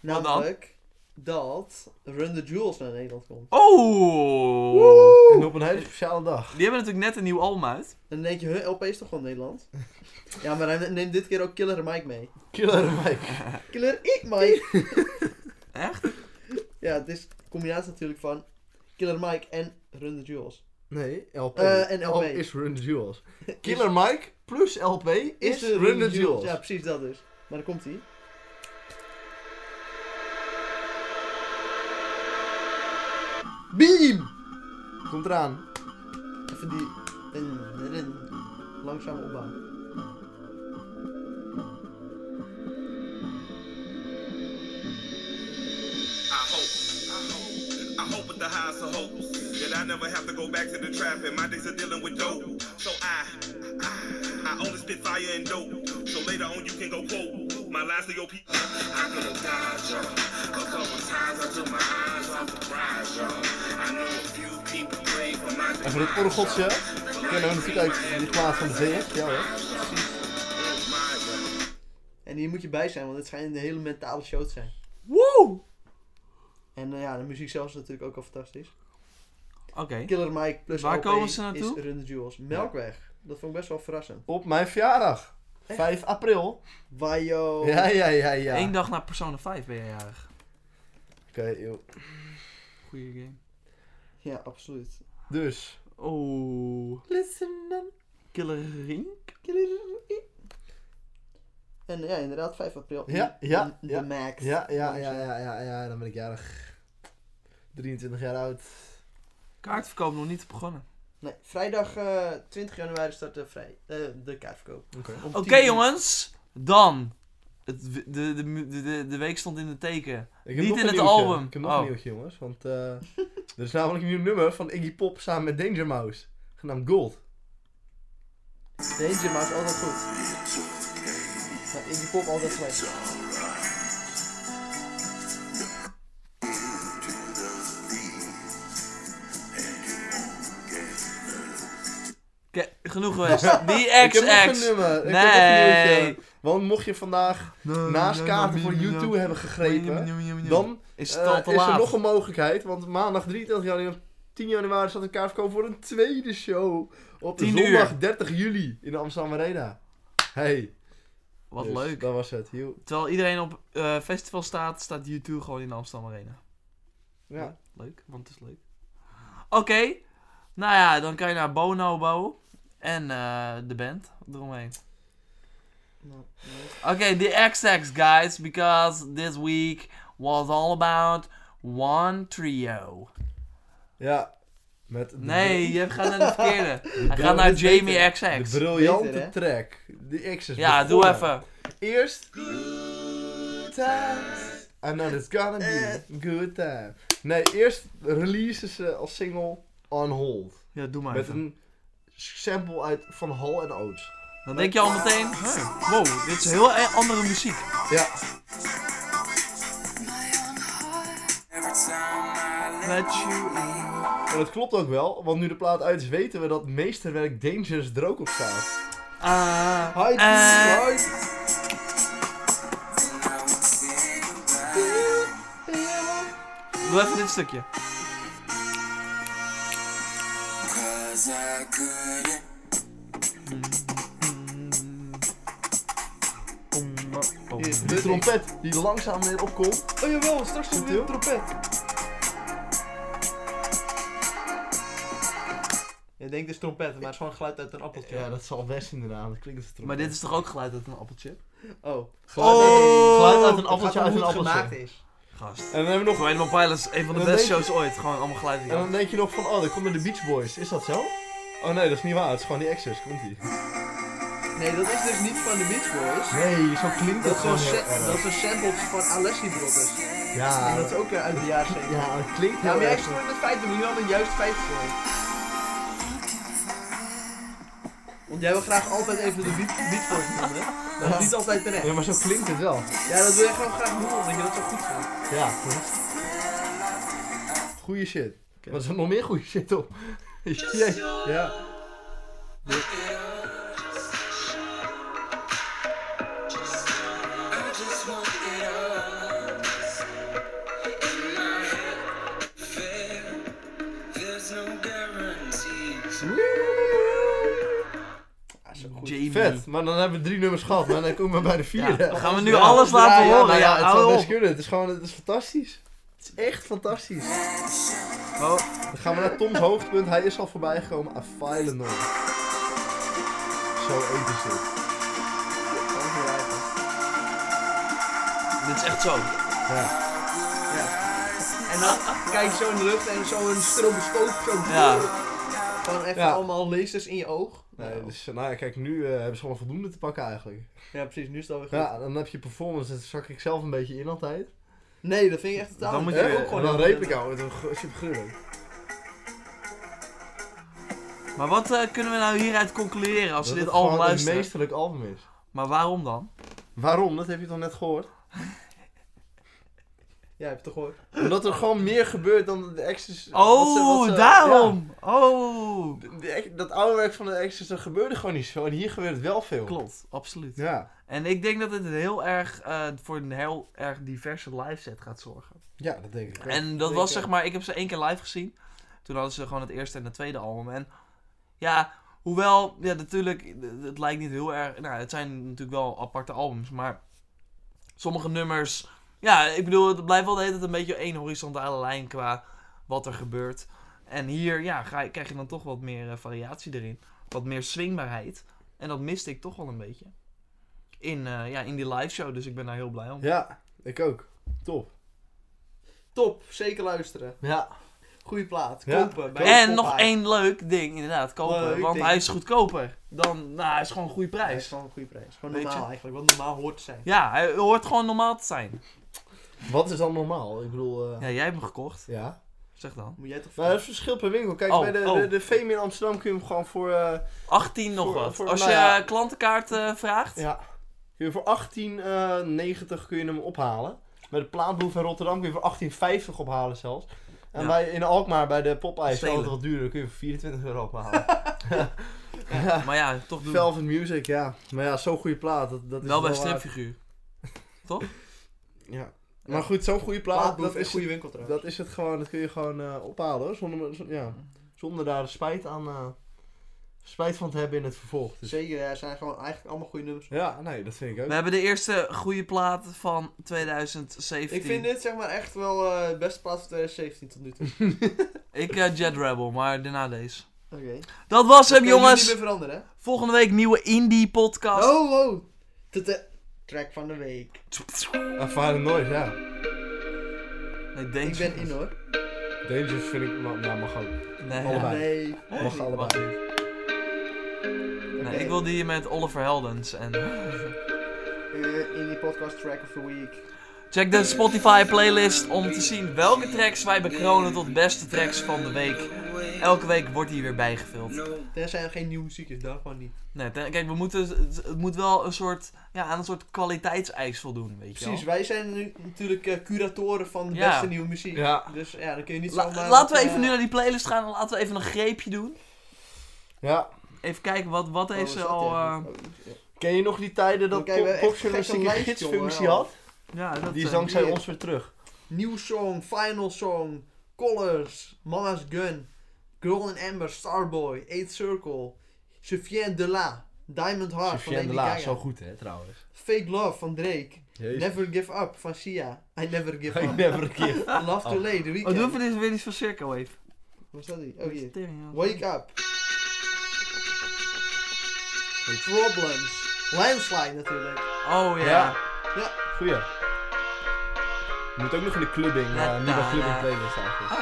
Speaker 1: dan?
Speaker 2: Namelijk dat Run the Jewels naar Nederland komt.
Speaker 1: Oh!
Speaker 3: En op een hele speciale dag.
Speaker 1: Die hebben natuurlijk net een nieuw album uit.
Speaker 2: En dan denk je, huh, LP is toch gewoon Nederland? ja, maar hij neemt dit keer ook Killer Mike mee.
Speaker 3: Killer Mike.
Speaker 2: Killer ik Mike!
Speaker 1: Echt?
Speaker 2: ja, het is een combinatie natuurlijk van Killer Mike en Run the Jewels.
Speaker 3: Nee, LP.
Speaker 2: Eh, en LP.
Speaker 3: Al- Is Run the Jewels. Killer Mike plus LP is,
Speaker 2: de
Speaker 3: Run the Jewels.
Speaker 2: Ja, precies dat dus. Maar dan komt hij.
Speaker 3: Beam! Komt eraan.
Speaker 2: Even die... En, en, en, langzaam opbouwen.
Speaker 4: I hope, I hope, I hope with the highest of hopes that I never have to go back to the trap and my days are dealing with dope. So I, I, I only spit fire and dope. So later on you can go quote my last to your people. I could have died young. A couple times I took my eyes off the prize y'all. I know a few people pray for my
Speaker 3: En voor het orgeltje kennen we natuurlijk uit die plaat van de VF. Ja hoor.
Speaker 2: En hier moet je bij zijn, want het schijnt een hele mentale show te zijn.
Speaker 1: Woe!
Speaker 2: En eh, ja, de muziek zelf is natuurlijk ook al fantastisch.
Speaker 1: Oké.
Speaker 2: Killer Mike plus
Speaker 1: Waar
Speaker 2: LP
Speaker 1: komen ze naartoe?
Speaker 2: is Run the Jewels. Melkweg. Dat vond ik best wel verrassend.
Speaker 3: Op mijn verjaardag. 5 april.
Speaker 2: Wajo.
Speaker 3: Ja, ja, ja, ja.
Speaker 1: Eén dag na Persona 5 ben je jarig.
Speaker 3: Oké, joh.
Speaker 1: Goeie game.
Speaker 2: Ja, absoluut.
Speaker 3: Dus.
Speaker 1: Oh.
Speaker 3: Listen
Speaker 1: Killer Rink?
Speaker 2: En ja, inderdaad, 5 april.
Speaker 3: Ja, ja,
Speaker 2: De,
Speaker 3: ja.
Speaker 2: de Max.
Speaker 3: Ja, ja, ja, ja, ja, ja, dan ben ik jarig. 23 jaar oud.
Speaker 1: Kaartverkoop nog niet begonnen.
Speaker 2: Nee, vrijdag eh, 20 januari start de, vrij, eh, de kaartverkoop.
Speaker 3: Oké.
Speaker 2: Om
Speaker 1: Oké
Speaker 2: 10 uur.
Speaker 1: jongens, dan. Het, w- de, de, mu- de, de, de week stond in het teken.
Speaker 3: Ik heb
Speaker 1: Niet
Speaker 3: nog
Speaker 1: in
Speaker 3: een
Speaker 1: het
Speaker 3: nieuwtje.
Speaker 1: album.
Speaker 3: Ik heb nog
Speaker 1: Oh.
Speaker 3: een nieuwtje, jongens. Want eh, er is namelijk een nieuw nummer van Iggy Pop samen met Danger Mouse. Genaamd Gold.
Speaker 2: Danger Mouse altijd goed. Maar in die pop altijd slecht.
Speaker 1: Oké, genoeg geweest. Die
Speaker 3: Ik heb nog een
Speaker 1: XX.
Speaker 3: nummer. Ik heb nog een
Speaker 1: Nee.
Speaker 3: nieuwtje. Want mocht je vandaag naast kaarten voor YouTube hebben gegrepen, dan
Speaker 1: is het
Speaker 3: eh,
Speaker 1: al te
Speaker 3: is er
Speaker 1: laat.
Speaker 3: nog een mogelijkheid. Want maandag 23 januari, 10 januari staat een kaartverkoop voor een tweede show. Op
Speaker 1: 10 uur.
Speaker 3: zondag 30 juli in de Amsterdam Arena. Hey.
Speaker 1: Wat
Speaker 3: Dus
Speaker 1: leuk.
Speaker 3: Dat was het. Joe.
Speaker 1: Terwijl iedereen op eh, festival staat, staat YouTube gewoon in de Amsterdam Arena.
Speaker 3: Ja.
Speaker 1: Leuk, want het is leuk. Oké, nou ja, dan kan je naar Bono bouwen. En eh, de band eromheen.
Speaker 2: Nou, nee.
Speaker 1: Okay, the XX guys, because this week was all about one trio.
Speaker 3: Ja. Met de
Speaker 1: Nee, je gaat naar de verkeerde. Hij
Speaker 3: bril
Speaker 1: gaat naar
Speaker 3: is
Speaker 1: Jamie
Speaker 3: beter. De
Speaker 1: XX.
Speaker 3: briljante
Speaker 2: Beter, hè?
Speaker 3: track. De X is
Speaker 1: Ja, doe
Speaker 3: begonnen.
Speaker 1: even.
Speaker 3: Eerst. Times. I know it's gonna be a good time. Nee, eerst releasen ze als single On Hold.
Speaker 1: Ja, doe maar
Speaker 3: Met
Speaker 1: even.
Speaker 3: een sample uit Van Hal en Oates.
Speaker 1: Dan denk je al meteen, huh, wow, dit is heel e- andere muziek.
Speaker 3: Ja.
Speaker 1: Let you in.
Speaker 3: En dat klopt ook wel, want nu de plaat uit is weten we dat meesterwerk Dangerous er ook op staat.
Speaker 1: Ah,
Speaker 2: Hi,
Speaker 1: eh,
Speaker 2: hi.
Speaker 1: doe even dit stukje. oh,
Speaker 2: Hier,
Speaker 3: De trompet die langzaam weer opkomt.
Speaker 2: Oh jawel, straks komt weer een trompet. Je denkt het is trompet, maar het is gewoon geluid uit een appeltje.
Speaker 3: Ja, dat zal best inderdaad. Dat klinkt als een
Speaker 1: Maar
Speaker 3: trompet.
Speaker 1: dit is toch ook geluid uit een appelchip?
Speaker 2: Oh.
Speaker 3: Geluid uit een- geluid uit een
Speaker 2: Het gaat
Speaker 3: appeltje
Speaker 2: om
Speaker 3: uit een
Speaker 2: hoe het gemaakt
Speaker 3: appeltje.
Speaker 2: is.
Speaker 1: Gast.
Speaker 3: En dan hebben we nog
Speaker 1: Rainbow Pilots, een van de
Speaker 3: Dan
Speaker 1: beste
Speaker 3: denk je-
Speaker 1: shows ooit. Gewoon allemaal geluid.
Speaker 3: En dan denk je nog van, oh, daar komen de Beach Boys. Is dat zo? Oh nee, dat is niet waar. Het is gewoon die Exes. Komt ie.
Speaker 2: Nee, dat is dus niet van de Beach Boys.
Speaker 3: Nee, zo klinkt
Speaker 2: Dat is gewoon
Speaker 3: heel
Speaker 2: sa-
Speaker 3: erg.
Speaker 2: dat is een sample van Alessi Brothers.
Speaker 3: Ja,
Speaker 2: En dat is ook weer uit de jaren 70.
Speaker 3: ja, het klinkt
Speaker 2: Ja,
Speaker 3: heel
Speaker 2: maar jij
Speaker 3: erg.
Speaker 2: stoort met 50 miljoen hadden juist 50 miljoen. Want jij wil graag altijd even de beat, beat voor je noemen, hè? Dat is niet altijd terecht.
Speaker 3: Ja, maar zo klinkt het wel.
Speaker 2: Ja, dat wil jij gewoon graag doen, omdat je dat zo goed vindt.
Speaker 3: Ja, klopt. Goeie shit. Maar er zat nog meer goede shit op. Jee. Ja.
Speaker 7: I just want it all. In my head, fair, there's no guarantees.
Speaker 3: Ja, zo goed.
Speaker 1: Jamie.
Speaker 3: Vet, maar dan hebben we drie nummers gehad, maar dan komen we bij de
Speaker 1: Ah, Ja,
Speaker 3: vierde.
Speaker 1: dan gaan we nu
Speaker 3: Ja,
Speaker 1: alles
Speaker 3: ja,
Speaker 1: laten
Speaker 3: ja,
Speaker 1: horen.
Speaker 3: nou
Speaker 1: Ja,
Speaker 3: ja, het zou
Speaker 1: hou
Speaker 3: best
Speaker 1: op.
Speaker 3: kunnen. Het is gewoon, het is fantastisch. Het is echt fantastisch.
Speaker 1: Oh.
Speaker 3: Dan gaan we naar Toms hoogtepunt. Hij is al voorbij gekomen. A file nog. Zo eet is dit.
Speaker 1: Dit is echt zo.
Speaker 3: Ja.
Speaker 2: En dan kijk je zo in de lucht en zo een stroboscoop. Zo
Speaker 1: Ja.
Speaker 2: Gewoon echt
Speaker 3: Ja.
Speaker 2: allemaal lasers in je oog.
Speaker 3: Nee,
Speaker 2: Nou,
Speaker 3: dus, nou ja, kijk, nu eh, hebben ze gewoon voldoende te pakken eigenlijk.
Speaker 2: Ja, precies. Nu is het alweer goed.
Speaker 3: Ja, dan heb je performance. Daar zak ik zelf een beetje in altijd.
Speaker 2: Nee, dat vind ik echt totaal
Speaker 1: Dan moet
Speaker 2: niet.
Speaker 1: je-
Speaker 2: Dat is ook
Speaker 3: En
Speaker 2: gewoon
Speaker 3: dan
Speaker 2: heel
Speaker 3: replica. Het is supergruwelijk.
Speaker 1: Maar wat eh, kunnen we nou hieruit concluderen als
Speaker 3: Dat
Speaker 1: we dit
Speaker 3: het
Speaker 1: album
Speaker 3: gewoon een
Speaker 1: luisteren?
Speaker 3: meesterlijk album is.
Speaker 1: Maar waarom dan?
Speaker 3: Waarom? Dat heb je toch net gehoord?
Speaker 2: Ja, heb je toch gehoord?
Speaker 3: Omdat er gewoon meer gebeurt dan de exes.
Speaker 1: Oh,
Speaker 3: wat ze- wat ze-
Speaker 1: daarom! Oh!
Speaker 3: ja. De- de ex- dat oude werk van de exes, dat gebeurde gewoon niet zo. En hier gebeurt het wel veel.
Speaker 1: Klopt, absoluut.
Speaker 3: Ja,
Speaker 1: En ik denk dat het heel erg eh, voor een heel erg diverse live set gaat zorgen.
Speaker 3: ja dat denk ik. ook.
Speaker 1: En dat
Speaker 2: ik
Speaker 1: was
Speaker 2: ook.
Speaker 1: zeg maar, ik heb ze één keer live gezien. Toen hadden ze gewoon het eerste en het tweede album. En ja, hoewel, ja natuurlijk, eh, het lijkt niet heel erg. Nou, het zijn natuurlijk wel aparte albums, maar sommige nummers. Ja, ik bedoel, het blijft wel de hele tijd een beetje één horizontale lijn qua wat er gebeurt. En hier, ja, ga, je- krijg je dan toch wat meer eh, variatie erin. Wat meer swingbaarheid. En dat miste ik toch wel een beetje. In, eh, ja, in die live show, dus ik ben daar heel blij om.
Speaker 3: Ja, ik ook. Top.
Speaker 2: Top, zeker luisteren.
Speaker 3: Ja.
Speaker 2: Goeie plaat.
Speaker 3: Ja.
Speaker 2: Kopen. bij de
Speaker 1: En
Speaker 2: Popeye.
Speaker 1: nog één leuk ding, inderdaad, kopen.
Speaker 2: Leuk
Speaker 1: want
Speaker 2: ding.
Speaker 1: hij is goedkoper. Dan, nou, hij is gewoon een goede
Speaker 2: Ja, is
Speaker 1: prijs.
Speaker 2: gewoon een goede prijs. Gewoon
Speaker 1: Weet je?
Speaker 2: normaal eigenlijk. Wat normaal hoort te zijn.
Speaker 1: Ja, hij hoort gewoon normaal te zijn.
Speaker 3: Wat is dan normaal? Ik bedoel, eh,
Speaker 1: Ja, jij hebt hem gekocht.
Speaker 3: ja.
Speaker 1: Zeg dan.
Speaker 2: Moet jij toch
Speaker 3: Maar het verschil per winkel. Kijk,
Speaker 1: Oh,
Speaker 3: bij de,
Speaker 1: oh.
Speaker 3: de, de Fame in Amsterdam kun je hem gewoon voor, eh
Speaker 1: 18 nog
Speaker 3: Voor-
Speaker 1: wat.
Speaker 3: voor-
Speaker 1: Als je
Speaker 3: nou ja.
Speaker 1: eh, klantenkaart eh, vraagt.
Speaker 3: ja, kun je voor 18,90 kun je hem ophalen. Bij de plaatboef in Rotterdam kun je voor 18,50 ophalen zelfs. En
Speaker 1: Ja.
Speaker 3: bij, in Alkmaar bij de Popeye is het
Speaker 1: Stelen.
Speaker 3: altijd wat duurder. Dan kun je voor 24 euro ophalen.
Speaker 1: Maar ja, toch doen.
Speaker 3: Velvet Music, ja. Maar ja, zo'n goede plaat. Dat, dat is
Speaker 1: Wel bij
Speaker 3: waard.
Speaker 1: stripfiguur.
Speaker 3: Ja. Maar goed, zo'n goede plaat,
Speaker 2: plaat
Speaker 3: dat,
Speaker 2: een
Speaker 3: is,
Speaker 2: goede winkel trouwens.
Speaker 3: dat is het gewoon. Dat kun je gewoon eh, ophalen hoor. Zonder, z- ja, zonder daar spijt aan eh, spijt van te hebben in het vervolg. Dus,
Speaker 2: Zeker, ja, zijn gewoon eigenlijk allemaal goede nummers.
Speaker 3: ja, nee, dat vind ik
Speaker 1: We
Speaker 3: ook.
Speaker 1: hebben de eerste goede plaat van 2017.
Speaker 2: Ik vind dit zeg maar echt wel eh, de beste plaat van 2017 tot nu toe. Oké.
Speaker 1: Ik eh, Jet Rebel, maar daarna deze.
Speaker 2: Okay.
Speaker 1: Dat was hem,
Speaker 2: niet
Speaker 1: jongens.
Speaker 2: meer veranderen, hè?
Speaker 1: Volgende week nieuwe indie podcast.
Speaker 2: Oh, wow. Tot de track van de week.
Speaker 3: Ervaren nooit, ja.
Speaker 1: Nee, Danger.
Speaker 2: Ik ben in hoor.
Speaker 3: Dangerous vind ik, maar, nou, mag ook.
Speaker 1: Nee,
Speaker 3: Allebei.
Speaker 2: Nee.
Speaker 3: Mag allebei.
Speaker 1: nee, ik wil die met Oliver Heldens. En...
Speaker 2: Eh, in die podcast track of the week.
Speaker 1: Check de Spotify playlist om te zien welke tracks wij bekronen tot beste tracks van de week. Elke week wordt die weer bijgevuld.
Speaker 2: Tenzij er geen nieuwe muziek is, dan gewoon niet.
Speaker 1: Nee, ten- kijk, we moeten, het- het moet wel een soort, ja, aan een soort kwaliteitseis voldoen, weet je wel.
Speaker 2: Precies, wij zijn nu natuurlijk eh, curatoren van de
Speaker 1: Ja.
Speaker 2: beste nieuwe muziek.
Speaker 3: Ja,
Speaker 2: Dus ja, dan kun je niet
Speaker 1: La-
Speaker 2: zomaar...
Speaker 1: laten we
Speaker 2: eh,
Speaker 1: even nu naar die playlist gaan en laten we even een greepje doen.
Speaker 3: ja.
Speaker 1: Even kijken wat, wat
Speaker 2: oh,
Speaker 1: heeft ze
Speaker 2: wat
Speaker 1: al...
Speaker 2: is dat,
Speaker 1: eh,
Speaker 2: ja? Oh, ja.
Speaker 3: Ken je nog die tijden dat
Speaker 2: Oké, we hebben echt
Speaker 3: popjournalistiek
Speaker 2: gek
Speaker 3: een
Speaker 2: zo'n lijst,
Speaker 3: gidsfunctie
Speaker 2: jongen.
Speaker 3: had?
Speaker 1: ja, dat,
Speaker 3: Die Ah,
Speaker 1: eh,
Speaker 3: is dankzij
Speaker 2: die-
Speaker 3: ons weer terug.
Speaker 2: Nieuw song, final song, Colors, Mama's Gun, Girl in Amber, Starboy, Eight Circle, Chevien de La, Diamond Heart van
Speaker 3: Sofiane
Speaker 2: Lady
Speaker 3: de La,
Speaker 2: Gaga,
Speaker 3: zo goed hè, trouwens.
Speaker 2: Fake Love van Drake,
Speaker 3: Jezus.
Speaker 2: Never Give Up van Sia, I Never Give
Speaker 3: Ik
Speaker 2: Up,
Speaker 3: never een keer.
Speaker 2: Love to Lay, The
Speaker 1: Oh,
Speaker 2: Weeknd,
Speaker 1: doe even dit weer iets van Circa Wave.
Speaker 2: wat staat die? Oh hier,
Speaker 1: Tering, ja.
Speaker 2: Wake Up, Problems, Landslide natuurlijk,
Speaker 1: Oh ja.
Speaker 3: Ja.
Speaker 2: ja,
Speaker 3: Goeie. Je moet ook nog in de clubbing, eh,
Speaker 1: Ja,
Speaker 3: nieuwe
Speaker 1: ja,
Speaker 3: clubbing
Speaker 1: ja.
Speaker 3: playlist eigenlijk.
Speaker 1: Ah,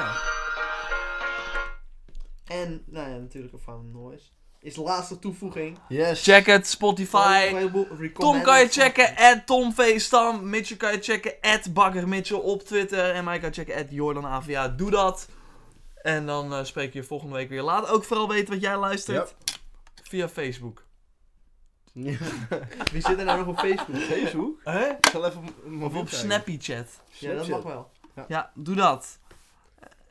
Speaker 1: ja.
Speaker 2: en nou ja, natuurlijk een Found Noise, is de laatste toevoeging,
Speaker 3: Yes.
Speaker 1: Check het,
Speaker 2: Oh,
Speaker 1: Spotify. Tom kan je checken at Tom V. Stam. Mitchell kan je checken at Bakker Mitchell op Twitter. En mij kan je checken at Jordan AVA. Doe dat. En dan eh, spreek je volgende week weer. Laat ook vooral weten wat jij luistert via Facebook.
Speaker 2: Wie zit er nou nog op Facebook?
Speaker 3: Facebook?
Speaker 1: Hè?
Speaker 3: Ik zal even op mijn
Speaker 1: Of op Snappy Chat.
Speaker 2: Ja, dat mag wel.
Speaker 1: Ja, doe dat.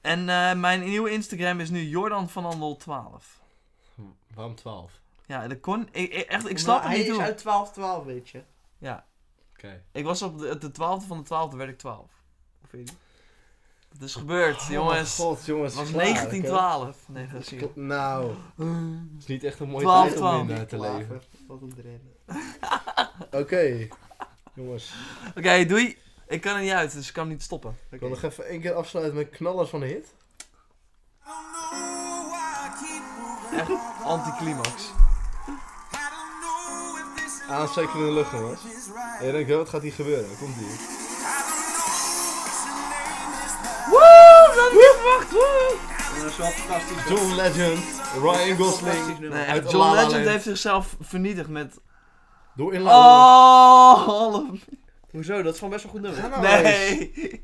Speaker 1: En eh, mijn nieuwe Instagram is nu Jordan van Andel 12.
Speaker 3: Waarom 12?
Speaker 1: Ja, dat kon... Ik, ik- echt, ik snap het
Speaker 2: hij
Speaker 1: niet
Speaker 2: is
Speaker 1: hoe.
Speaker 2: uit 12, 12, weet je.
Speaker 1: Ja,
Speaker 3: Oké.
Speaker 1: ik was op de, de 12e van de 12e werd ik 12. Of weet je? Dat is gebeurd, jongens.
Speaker 3: Oh, god, jongens.
Speaker 1: Het was
Speaker 3: klaar,
Speaker 1: 1912. Nee, dat is Hm.
Speaker 3: oké.
Speaker 1: hier.
Speaker 3: Kl- Nou, het is niet echt een mooie
Speaker 1: 12,
Speaker 3: tijd om
Speaker 1: 12.
Speaker 3: in eh, te leven.
Speaker 2: Klaver, Wat een drenne.
Speaker 3: Oké, jongens.
Speaker 1: Oké, doei. Ik kan er niet uit, dus ik kan hem niet stoppen.
Speaker 3: Ik wil nog even één keer afsluiten met knallers van de hit.
Speaker 1: Echt anticlimax.
Speaker 3: Aansteken in de lucht, jongens. En je denkt, wat gaat hier gebeuren? Komt hier.
Speaker 1: Woe, dat niet verwacht. Woe.
Speaker 2: En dat is wel fantastisch. hoor.
Speaker 3: John Legend, Ryan Gosling.
Speaker 1: Nee,
Speaker 3: Uit
Speaker 1: echt,
Speaker 3: La La
Speaker 1: John Legend
Speaker 3: Land.
Speaker 1: heeft zichzelf vernietigd met...
Speaker 3: Door in La
Speaker 1: Oh, half.
Speaker 2: Hoezo? Dat is gewoon best wel goed nummer.
Speaker 1: Oh.
Speaker 3: La Land.
Speaker 1: Nee.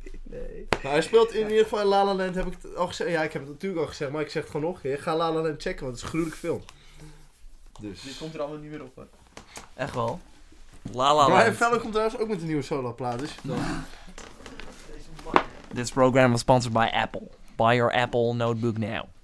Speaker 3: Nou, hij speelt in ieder geval in La La Land, heb ik het al gezegd. Ja, ik heb het natuurlijk al gezegd, maar ik zeg het gewoon nog een keer. Ga La La Land checken, want het is een gruwelijke film.
Speaker 2: Dit
Speaker 3: Dus.
Speaker 2: komt er allemaal niet meer op. hoor.
Speaker 1: Echt wel. La la
Speaker 3: Brian
Speaker 1: Land.
Speaker 3: Fallon komt trouwens ook met een nieuwe solo plaat, dus
Speaker 1: This program was sponsored by Apple. Buy your Apple notebook now.